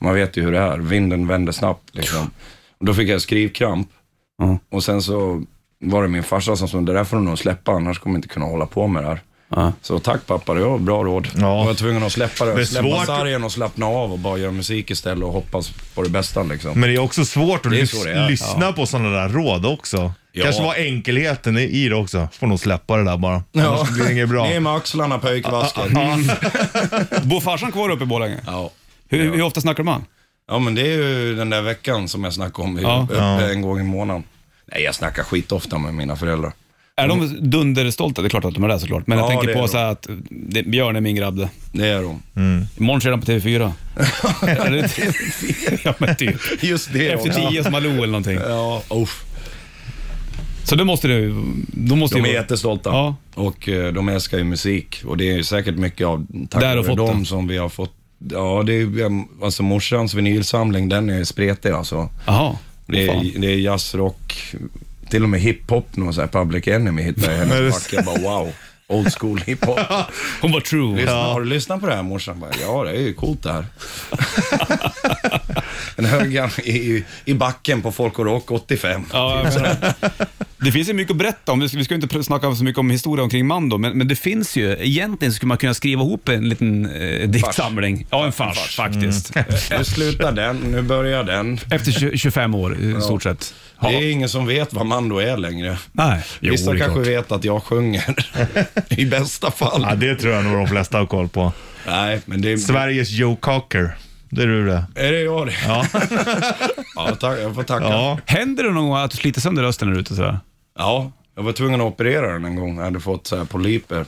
J: man vet ju hur det är, vinden vänder snabbt liksom. Och då fick jag skrivkramp. Och sen så var det min farsa som sa, det där får du nog släppa, annars kommer jag inte kunna hålla på med det här. Så tack pappa, det var bra råd. Jag var tvungen att släppa
C: Det är
J: det, släppa
C: svårt.
J: sargen och slappna av och bara göra musik istället och hoppas på det bästa liksom.
C: Men det är också svårt att
J: Det är
C: lys-
J: så det är.
C: lyssna
J: Ja.
C: på sådana där råd också.
J: Ja.
C: Kanske var enkelheten i- i det också. Får nog släppa det där bara.
J: Ja.
C: Annars blir det inget bra.
J: [LAUGHS] Ner med axlarna pöjkvasker.
B: Bor farsan kvar uppe i Borlänge?
J: Ja.
B: Hur, hur ofta snackar de han?
J: Ja men det är ju den där veckan som jag snackade om,
B: Ja.
J: ja. uppe
B: Ja.
J: en gång i månaden. Nej jag snackar skitofta med mina föräldrar.
B: Är de dunderstolta? Det är klart att de är det såklart. Men
J: Mm. Ja,
B: jag
J: det
B: tänker
J: är
B: på
J: de.
B: så här att det, Björn är min grabb det.
J: Det är de.
B: Mm. Imorgon kör han på TV4. Är det inte- [LAUGHS] ja, men typ.
J: [LAUGHS] Just det.
B: Efter
J: ja.
B: tio som Malou eller någonting.
J: Ja, uff.
B: Så då måste du... Då måste
J: De
B: ju-
J: är jättestolta och eh, de älskar ju musik och det är ju säkert mycket av tack
B: Där och
J: vare
B: fått
J: dem
B: det.
J: som vi har fått Ja, det är, ju- alltså morsans vinylsamling, den är spretig alltså.
B: Jaha.
J: Det
B: Fan.
J: är, det är jazzrock, till och med hiphop, någon så här public enemy hittar jag i
B: Är det
J: hennes fack. Jag bara wow, old school hiphop.
B: [LAUGHS] Hon var true.
J: Lyssna,
B: Ja.
J: Har du lyssnat på det här morsan? Jag Bara, ja, det är ju coolt det här. [LAUGHS] en hög gam- i, i backen på Folk och Rock 85.
B: Ja, jag menar. Det finns ju mycket att berätta om. Vi ska, vi ska ju inte pr- snacka så mycket om historia omkring Mando, men, men det finns ju. Egentligen skulle man kunna skriva ihop en liten eh, diktsamling. Ja, en fars, Mm. faktiskt. Eh,
J: Nu slutar den, nu börjar den.
B: Efter tju- 25 år, i
J: Ja.
B: stort sett.
J: Det är ingen som vet vad Mando är längre.
B: Nej. Jo,
J: Vissa
B: det är
J: kanske
B: klart.
J: vet att jag sjunger.
B: [LAUGHS]
J: I bästa fall.
C: Ja, det tror jag nog de flesta har koll på.
J: Nej, men det är...
C: Sveriges Joe Cocker. Det är du det.
J: Är det jag det?
C: Ja.
J: [LAUGHS] ja tack, jag får tacka.
C: Ja.
B: Händer det någon gång att du sliter sönder rösten när du är ute sådär?
J: Ja, jag var tvungen att operera den en gång. Jag hade fått så här polyper.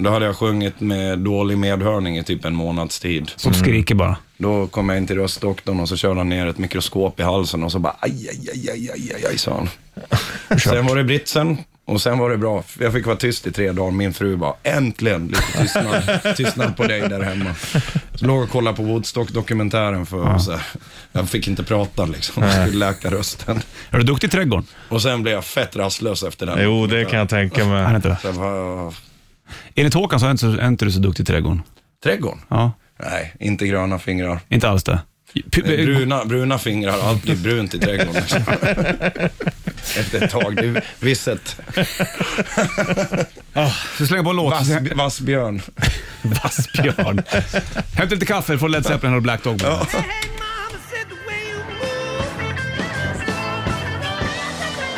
J: Då hade jag sjungit med dålig medhörning i typ en månads tid.
B: Som skriker bara.
J: Då kom jag in till röstdoktorn och så körde han ner ett mikroskop i halsen och så bara aj, aj, aj, aj, aj, aj, aj sa
C: [LAUGHS]
J: han. Sen var det britsen och sen var det bra. Jag fick vara tyst i tre dagar. Min fru bara äntligen lite
C: [LAUGHS]
J: tystnad, tystnad på dig där hemma. Så låg och kollade på Woodstock-dokumentären för så här, jag fick inte prata liksom. Jag skulle läka rösten.
B: Är du duktig i trädgården?
J: Och sen blev jag fett rastlös efter den.
C: Jo, det kan jag tänka mig.
B: Är det inte det?
J: Sen var jag-
B: Enligt Håkan så är inte, så- är inte du så duktig i trädgården.
J: Trädgården?
B: Ja,
J: Nej, inte gröna fingrar.
B: inte alls det. P- eh,
J: Bruna, bruna fingrar, allt blir brunt
B: [LAUGHS]
J: i trädgården. Efter ett tag, det är visset.
B: Oh, så slänger på en låt.
J: Vass, vassbjörn.
B: [LAUGHS] Vassbjörn. Hämta lite kaffe från Led Zeppelin och Black Dog. Ja.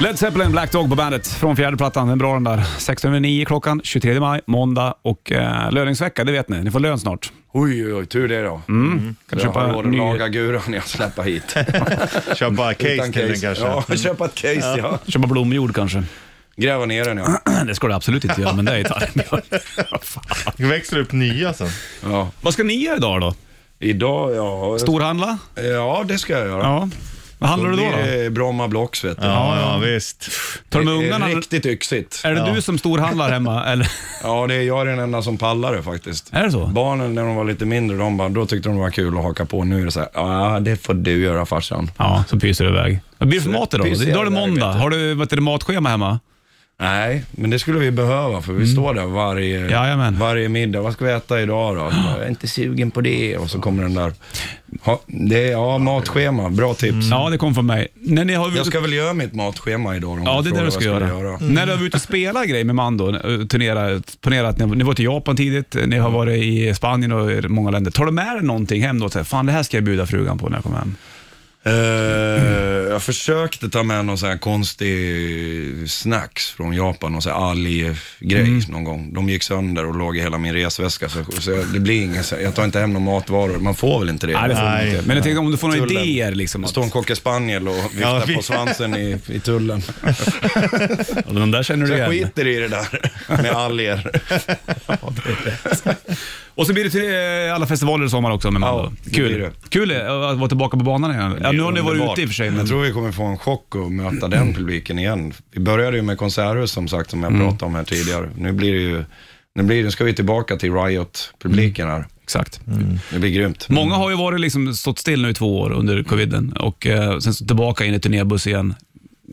B: Led Zeppelin, Black Dog på bandet från fjärde plattan. Den är bra den där. 16.09 klockan, 23 maj, måndag och eh, löningsvecka, det vet ni. Ni får lön snart.
J: Oj, oj, oj, tur det då.
B: Mm. Kan
J: Jag
B: köpa
J: har råd att
B: ny-
J: laga guran jag
B: [LAUGHS]
J: släpper hit.
C: köpa
B: case till den kanske.
J: Ja, köpa ett case ja.
B: Köpa blomjord
J: [CLEARS THROAT]
B: kanske.
J: Gräva ner den ja.
B: det ska du absolut inte göra, men det är [LAUGHS] gitarrbjörn.
C: Växlar upp nya sen.
J: Ja.
B: Vad ska ni göra idag då?
J: Idag, ja...
B: Storhandla?
J: Ja, det ska jag göra.
B: Ja. Vad handlar du då?
J: Det
B: då?
J: är Bromma Blocks vet du.
B: Ja, ja,
C: visst.
B: Tar du med
J: Det är
B: ungarna?
J: Riktigt yxigt.
B: Är det
J: Ja.
B: du som storhandlar hemma? [LAUGHS] Eller?
J: Ja, det är jag den enda som pallar det faktiskt.
B: Är det så?
J: Barnen när de var lite mindre, de bara, då tyckte de det var kul att haka på. Nu är det så här, ja det får du göra farsan.
B: Ja, så pyser du iväg. Vad blir det för mat idag?
J: pyser
B: Idag är det
J: jag iväg,
B: måndag.
J: vet du.
B: Har du vad heter det, matschema hemma?
J: Nej, men det skulle vi behöva för vi
B: Mm.
J: står där varje, varje middag. Vad ska vi äta idag då? Så bara, Jag är inte sugen på det. Och så kommer den där. Ha, det är, ja, matschema. Bra tips.
B: Mm. Ja, det kom från mig. När ni har
J: Jag ska väl göra mitt matschema idag. om
B: Ja,
J: du
B: det är det
J: frågar
B: du
J: vad
B: ska
J: jag
B: göra. Mm. När du har varit ute och spelat grejer med Mando, eh, turnera, ponera att ni, ni var till Japan tidigt, eh, ni har varit i Spanien och i många länder. Tar du med dig någonting hem då? Så här, Fan, det här ska jag bjuda frugan på när jag kommer hem.
J: Eh, jag försökte ta med någon sån här konstig snacks från Japan, någon sån här alggrej
B: Mm.
J: någon gång. De gick sönder och låg i hela min resväska. Så, så jag- det blir inget, så- jag tar inte hem några matvaror. Man får väl inte det?
B: Nej, det får man Nej. inte. Men jag tänkte om du får några idéer,
J: Liksom, att... Står en kock i spaniel och viftar
B: Ja, vi-
J: på svansen i,
B: [LAUGHS]
J: i tullen.
B: Och de där känner
J: så
B: du
J: jag
B: igen.
J: skiter i det där [LAUGHS] med alger.
B: [LAUGHS] Och så blir det till eh, alla festivaler i sommar också med Mando.
J: det blir
B: Kul.
J: det.
B: Kul eh, att vara tillbaka på banan igen. Ja, nu har ni varit
J: Underbart.
B: ute i och för sig. Men...
J: Jag tror vi kommer få en chock och möta den publiken igen. Vi började ju med konserthus som sagt, som jag
B: Mm.
J: pratade om här tidigare. Nu blir det ju, nu, blir, nu ska vi tillbaka till Riot-publiken här.
B: Exakt.
J: Det blir grymt.
B: Många har ju varit liksom stått still nu i två år under coviden och eh, sen så tillbaka in i turnébuss igen.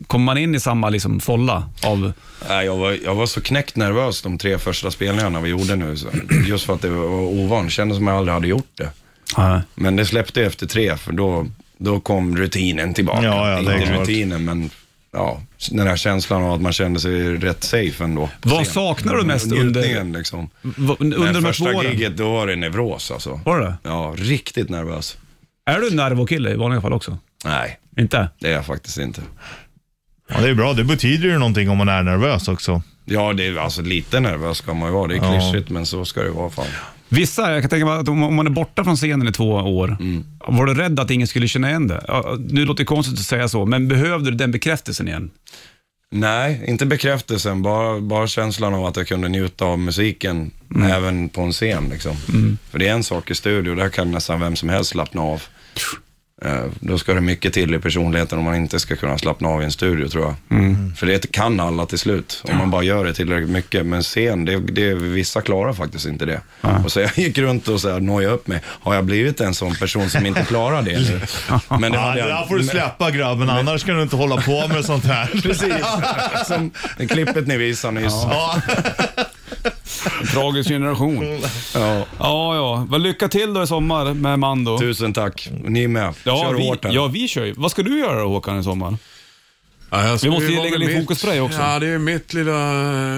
B: Kommer man in i samma liksom, folla av...
J: Nej, jag, var, jag var så knäckt nervös de tre första spelningarna vi gjorde nu. Så, just för att det var ovan. Kändes som jag aldrig hade gjort det. Men det släppte jag efter tre, för då, då kom rutinen tillbaka.
C: Ja, ja, det är
J: Inte
C: klart.
J: rutinen, men ja, den här känslan av att man kände sig rätt safe ändå. på
B: Vad
J: scen.
B: saknar du mest
J: Njutningen,
B: under-
J: liksom.
B: Va- under
J: Men
B: de här två
J: första
B: åren?
J: giget, då var det neuros alltså.
B: Var det?
J: Ja, riktigt nervös.
B: Är du en nervokille i vanliga fall också?
J: Nej.
B: Inte?
J: Det är jag faktiskt inte.
C: Ja, det är bra. Det betyder ju någonting om man är nervös också.
J: Ja, det är, alltså lite nervös ska man ju vara. Det är
C: Ja.
J: klyschigt, men så ska det vara fan.
B: Vissa, jag kan tänka mig att om om man är borta från scenen i två år, var du rädd att ingen skulle känna igen det? Ja, Nu låter det konstigt att säga så, men behövde du den bekräftelsen igen?
J: Nej, inte bekräftelsen, bara, bara känslan av att jag kunde njuta av musiken
C: Mm.
J: även på en scen. Liksom. För det är en sak i studio, där kan nästan vem som helst slappna av. Eh, Då ska det mycket till i personligheten om man inte ska kunna slappna av i en studio tror jag.
B: Mm.
J: För det kan alla till slut, om man bara gör det tillräckligt mycket. Men scen, det, det, vissa klarar faktiskt inte det. Och så jag gick runt och så här, nojade upp mig. Har jag blivit en sån person som inte klarar det nu?
C: [LAUGHS]
J: Men
C: ja, det där får du
J: men-
C: släppa grabben, annars kan du inte hålla på med sånt här.
J: [LAUGHS] Precis. Som det klippet ni visade nyss.
C: Ja.
B: En tragisk generation.
J: Ja.
B: [LAUGHS] ja, ja. Vad lycka till då i sommar med Mando.
J: Tusen tack. Ni med.
B: Ja,
J: Kör
B: vi,
J: hårt här.
B: Ja, vi kör ju. Vad ska du göra då Håkan i sommar?
K: jag
B: vi
K: skulle
B: måste ju
K: vara
B: lägga
K: med
B: lite
K: mitt-
B: fokus på dig också.
K: Ja, det är mitt lilla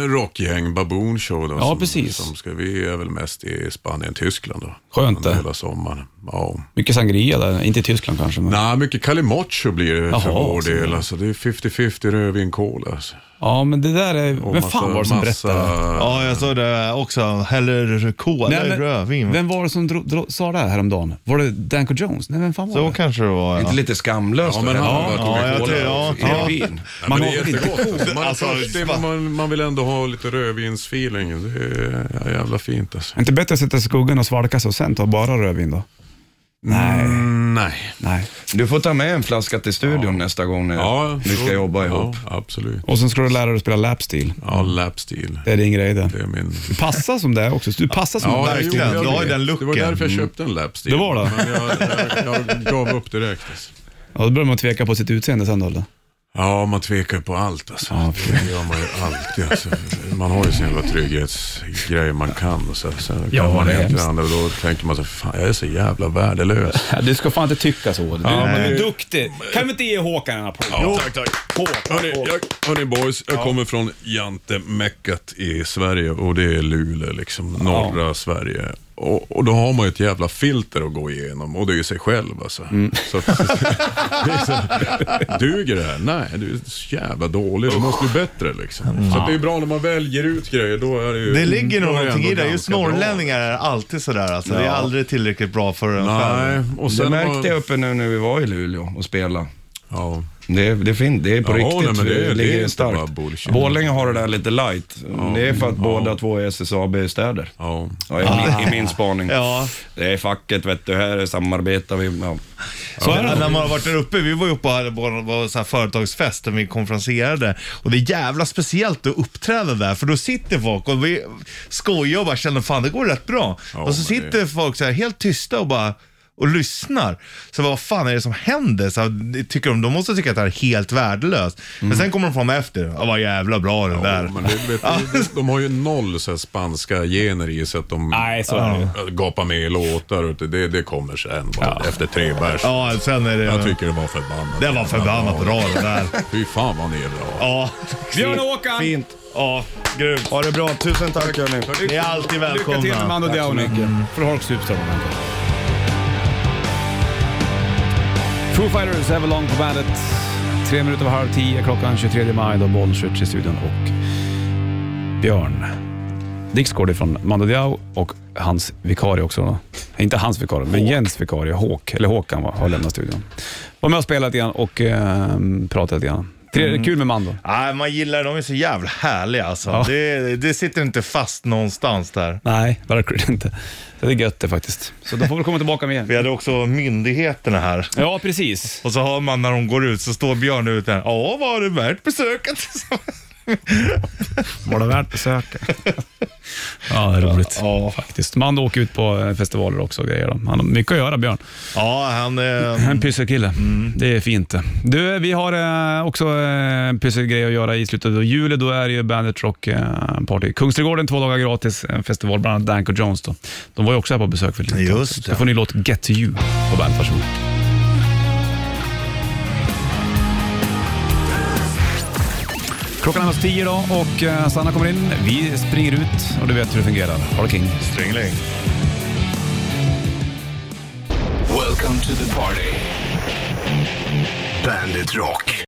K: rockgäng, Baboon Show. Då,
B: Ja,
K: som,
B: precis.
K: Som ska, vi är väl mest i Spanien, Tyskland. Då,
B: Skönt det.
K: Hela sommaren. Ja.
B: Mycket sangria där, inte i Tyskland kanske. Men...
K: Nej, mycket Calimocho blir det för
B: Jaha,
K: vår
B: så.
K: del. Alltså, det är 50-50 rödvinkål. Alltså.
B: Ja, men det där är... Vem
K: massa-
B: fan var det som
K: massa-
B: berättade?
C: Ja, jag såg det också. Häller kol
B: Nej,
C: i
B: men-
C: rödvin.
B: Vem var det som dro, dro, sa det här häromdagen? Var det Danko Jones? Nej, vem fan var
C: Så
B: det?
C: kanske det var.
J: Inte
C: Ja.
J: lite skamlöst
K: Ja, men
J: då?
K: han har
J: Hellre bara
C: Ja, jag
J: Coca-Cola
C: tror- ja.
J: och rödvin.
K: Nej,
B: Man
K: men det är
B: har väl inte
K: jättegott. Man, är
C: Alltså,
K: törstig, men man, man vill ändå ha lite rödvinsfeeling. Det är jävla fint alltså.
B: Är inte bättre att sätta sig i skuggan och svalka sig och sen ta bara rödvin då? Nej.
K: Mm, nej.
B: Nej.
J: Du får ta med en flaska till studion nästa gång ni,
K: Ja,
J: ni ska
K: så-
J: jobba ihop.
K: Ja, absolut.
B: Och sen ska du lära dig att spela lapsteel.
K: Ja, lapstil.
B: Det är din grej det.
K: Det är min...
B: Du passar som det också. Du passar som
K: Ja,
B: en
K: jo,
B: lapsteel.
C: verkligen.
K: jag
C: Du har ju
K: vet.
C: den
K: Det var
C: looken.
K: därför jag köpte en lapstil.
B: Det var det?
K: Men jag, jag, jag gav upp direkt. Alltså.
B: Ja, då börjar man tveka på sitt utseende sen då eller?
K: Ja, man tvekar ju på allt alltså.
B: Ja,
K: det gör man ju alltid. Alltså. Man har ju sin jävla trygghetsgrej man kan. Och så, sen
B: Ja,
K: kan man
B: det är
K: inte
B: hemskt.
K: andra, och då tänker man så fan jag är så jävla värdelös.
B: Du ska fan inte tycka så. Du,
K: Ja, men-
B: du är duktig. Kan vi inte ge Håkan en applåd?
K: Ja,
B: tack, tack.
K: Hörni, jag, hörni boys, jag kommer från Jante-meckat i Sverige och det är Luleå, liksom norra Sverige. Och, och då har man ju ett jävla filter att gå igenom och det är ju sig själv alltså. Så, att- det är så, duger det här? Nej, du är så jävla dålig. Du måste bli bättre liksom. Så att det är ju bra när man väljer ut grejer. Då är det ju,
C: Det ligger nog
K: då är
C: någonting
K: ändå
C: i det. Just
K: ganska bra.
C: norrlänningar är alltid sådär. Alltså. Det är
K: Ja.
C: aldrig tillräckligt bra för en själv.
K: Nej, och sen
J: det
K: har-
J: märkte jag uppe nu när vi var i Luleå och spelade.
K: Ja.
J: Det, det, är fint, det är på
K: Ja,
J: riktigt.
K: nej, men det-
J: det,
K: det är
J: ligger
K: inte bara
J: starkt.
K: bullshit.
J: Borlänge har det där lite light. Det är för att båda två är SSAB-städer.
K: Ja. Ah.
J: Ja, i, min, I min spaning.
C: Ja.
J: Det är facket vet du, här samarbetar vi. Ja.
C: Så är det. När man har varit där uppe, vi var ju uppe och hade på en sån här företagsfest där vi konferenserade. Och det är jävla speciellt att uppträda där, för då sitter folk och vi skojar och bara känner fan det går rätt bra.
K: Ja,
C: och så
K: men det-
C: sitter folk så här helt tysta och bara och lyssnar. Så vad fan är det som händer? Så här, tycker de, de måste tycka att det här är helt värdelöst. Men sen kommer de fram efter. Ja, vad jävla bra den
K: Mm. Ja,
C: där.
K: men det, vet, du, de, de har ju noll så här, spanska gener i sig att de
B: Nej, så är det ju.
K: äh, gapar med i låtar. Och det, det kommer sen bara, efter tre bärs.
C: Ja, sen är det...
K: Jag tycker det var förbannat.
C: Det var förbannat
K: Ja.
C: bra det där.
K: Fy fan vad ni är bra.
C: Ja,
B: Björn och Håkan!
J: Fint.
C: ja, grymt.
J: Ha det bra. Tusen tack hörni.
C: Ni är alltid välkomna.
B: Lycka till med Mando
J: Tack så
B: Diao Mm.
J: mycket.
B: Från Holkstupstaden. Foo Fighters, Everlong på bandet. Tre minuter över halv tio klockan 23 maj. Då Bollswitch i studion och Björn Dixgård från Mando Diao och hans vikarie också. då. Inte hans vikarie, men Jens vikarie, Håk, eller Håkan var- har lämnat studion. Var med och spelade lite grann och eh, pratade lite grann. Tre, Kul med Mando.
C: Nej, man gillar dem. De är så jävla härliga alltså.
B: Ja.
C: Det, det sitter inte fast någonstans där.
B: Nej, verkligen inte. Så det är gött det faktiskt. Så då får vi komma tillbaka med igen.
C: Vi hade också myndigheterna här.
B: Ja, precis.
C: Och så hör man när de går ut så står Björn ute. Ja, var det värt besöket? [LAUGHS]
B: Var det värt besöket? ja, det är roligt.
C: Ja.
B: Faktiskt. Man åker ut på eh, festivaler också och grejer. då. Han har mycket att göra, Björn.
C: ja, han... Eh,
B: En pysselkille. Det är fint det. Du, vi har eh, också eh, en pysselgrej att göra i slutet av juli. Då är det ju Bandit Rock eh, Party. Kungsträdgården, två dagar gratis. En festival, bland annat Danko Jones. Då. De var ju också här på besök för lite
C: Just
B: Så
C: det.
B: får ni låt Get to You på Bandet. Varsågod. Klockan är nästan tio idag och eh, Sanna kommer in. Vi springer ut och du vet hur det fungerar. Ha det king.
C: Strängling.
A: Welcome to the party. Bandit Rock.